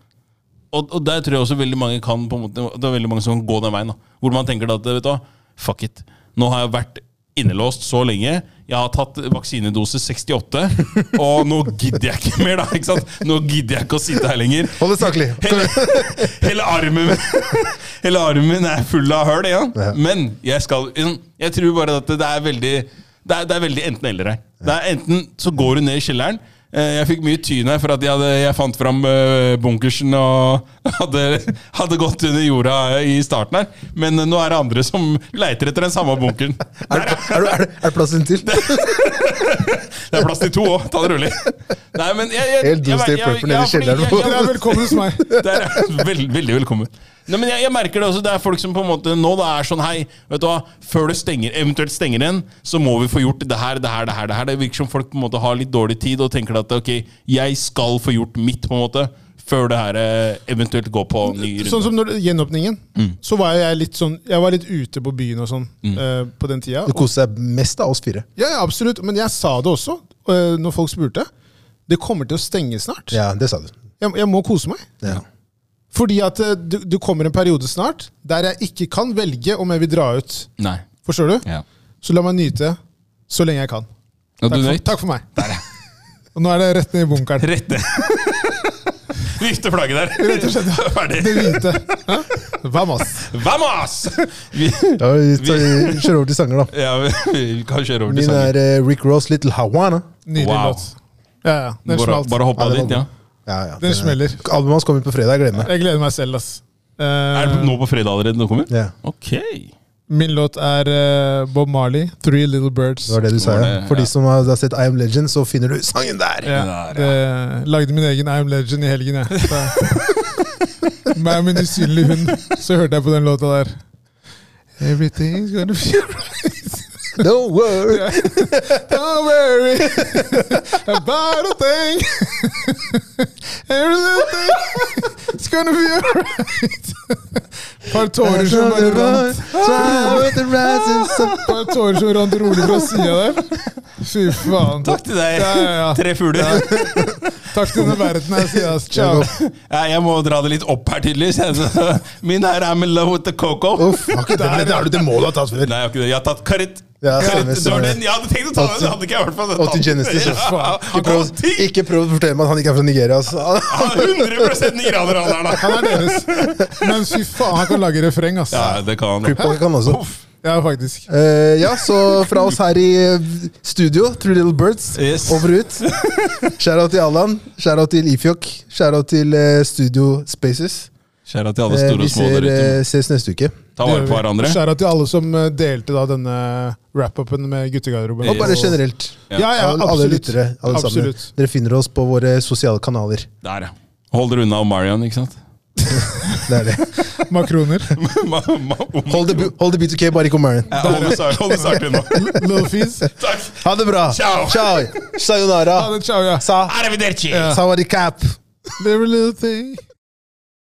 C: Og, og der tror jeg også veldig mange kan på en måte, Det er veldig mange som kan gå den veien. da Hvor man tenker da at vet du hva, fuck it. Nå har jeg vært innelåst så lenge. Jeg har tatt vaksinedose 68, og nå gidder jeg ikke mer, da. ikke sant? Nå gidder jeg ikke å sitte her lenger.
B: Hold det saklig.
C: Hele, hele armen min Hele armen min er full av høl, ja.
B: Ja.
C: Men jeg skal Jeg tror bare at det er veldig Det er, det er veldig enten-eller her. Det er Enten så går du ned i kjelleren. Eh, Jeg fikk mye tyn her for at jeg, hadde, jeg fant fram eh, bunkersen og hadde, hadde gått under jorda i starten her. Men eh, nå er det andre som leiter etter den samme bunkeren.
B: Er, det- er, det- er, det- er det plass til?
C: Det er plass til to òg, ta det rolig. Nei, men jeg, jeg,
B: Helt
C: jeg-
B: Doomsday
C: jeg- jeg-
B: Prepper nede i
C: ja, fordi
B: kjelleren.
C: jeg- jeg-
D: Dere er velkommen hos meg.
C: Der er vel, veldig velkommen. Nei, men jeg, jeg merker Det også, det er folk som på en måte nå da er sånn Hei, vet du hva, før det stenger, eventuelt stenger igjen, så må vi få gjort det her, det her, det her. Det her Det virker som folk på en måte har litt dårlig tid og tenker at ok, jeg skal få gjort mitt, på en måte, før det her eh, eventuelt går på ny runde.
D: Sånn som når det- gjenåpningen.
B: Mm.
D: Så var jeg litt sånn Jeg var litt ute på byen og sånn eh, på den tida.
B: Du koser deg mest av oss fire.
D: Ja, ja, absolutt. Men jeg sa det også eh, når folk spurte. Det kommer til å stenge snart.
B: Ja, det sa du.
D: Jeg, jeg må kose meg.
B: Ja.
D: Fordi at eh, det det kommer en periode snart der jeg ikke kan velge om jeg vil dra ut.
C: Nei.
D: Forstår du?
C: Ja.
D: Så la meg nyte så lenge jeg kan.
C: Og
D: Takk
C: du
D: for,
C: nøyt?
D: takk for meg. Og nå er det rett ned i bunkeren.
C: Rett ned. Vifte flagget der. Rett og slett. Ferdig.
D: Det hvite. Hæ? Vamos.
C: Vamos! Vi,
B: Ja, vi tar, vi kjører over til sanger, da.
C: ja, vi, vi kan kjøre over til
B: Min
C: sangen.
B: er eh, Rick Ross' Little Hawana.
D: Nydelig
C: Wow.
D: låt. Ja, ja. Den
C: Bare,
D: smalt.
C: bare hoppe av
B: Ja, det var
C: dit, ja.
B: Ja, ja,
D: Den smeller.
B: Albumet hans kommer ut på fredag. Jeg gleder meg.
D: Jeg gleder meg selv, ass. Eh,
C: Er det nå på fredag allerede nå kommer?
B: Ja,
C: Ok.
D: Min låt er eh, Bob Marley, 'Three Little Birds'.
B: det var det du sa,
C: Var det-
B: ja. For
C: ja.
B: de som har har sett I Am Legend, så finner du sangen der!
D: Ja,
C: Det der,
D: det, lagde min egen I'm Legend i helgen, jeg. Så, Meg og min usynlige hund. Så hørte jeg på den låta der. Everything's gonna be alright.
B: Don't worry.
D: Don't worry about a thing. Everything's gonna be alright. Par tårer som bare rant. Par tårer som rant rolig fra sida der. Fy faen.
C: Takk til deg,
D: Ja, ja, ja.
C: tre fugler.
D: Takk til denne verden her, sier jeg. ass. Ciao.
C: Ja, jeg må dra det litt opp her, tydeligvis. Så Min her er med love with the coco.
B: Uff, har ikke den, men det, har du, det må du ha tatt før.
C: Nei, jeg har ikke det. Jeg har tatt Karit.
B: Ja, stemmer,
C: Karit, det var
B: stemmer.
C: den. Jeg hadde tenkt å ta den, det hadde ikke jeg i hvert fall.
B: Og til Genesis. ass.
C: Ja,
B: Ikke prøv, ikke prøv å fortelle meg at han ikke er fra Nigeria. altså. ass.
C: Ja, 100 nigeraner han er, da.
D: Han er deres. Men fy faen, han kan lage refreng, ass.
C: Ja, det kan han.
B: Cripwalk kan også.
D: Ja, faktisk.
B: Eh, ja, så fra oss her i eh, studio, Three Little Birds,
C: Yes.
B: over og ut. Shoutout til Allan, shoutout til Ifjok, shoutout til eh, Studio Spaces.
C: Kjære til alle
B: Eh,
C: store
B: vi
C: og små
B: ser,
C: der ute.
B: eh, ses neste uke.
C: Ta vare på hverandre.
D: Skjæra til alle som eh, delte da denne wrap-upen med guttegarderoben.
B: Og bare generelt.
D: Ja, ja,
B: alle, alle
D: absolutt.
B: lyttere. Alle sammen.
D: Absolutt.
B: Dere finner oss på våre sosiale kanaler.
C: Der, ja. Hold dere unna Marion, ikke sant?
B: Det er det.
D: Makroner.
C: Ma- ma-
B: Hold det, bu- hold det B2K, bare ikke om Marion.
C: Ja, Hold det sart- hold det sart unna.
D: Little Fizz.
C: Takk.
B: Ha det bra.
C: Ciao.
B: Ciao. Sayonara.
D: Ha det, ciao, ja.
B: Sa.
C: Arrivederci.
B: Sawadee cap.
D: Every little thing.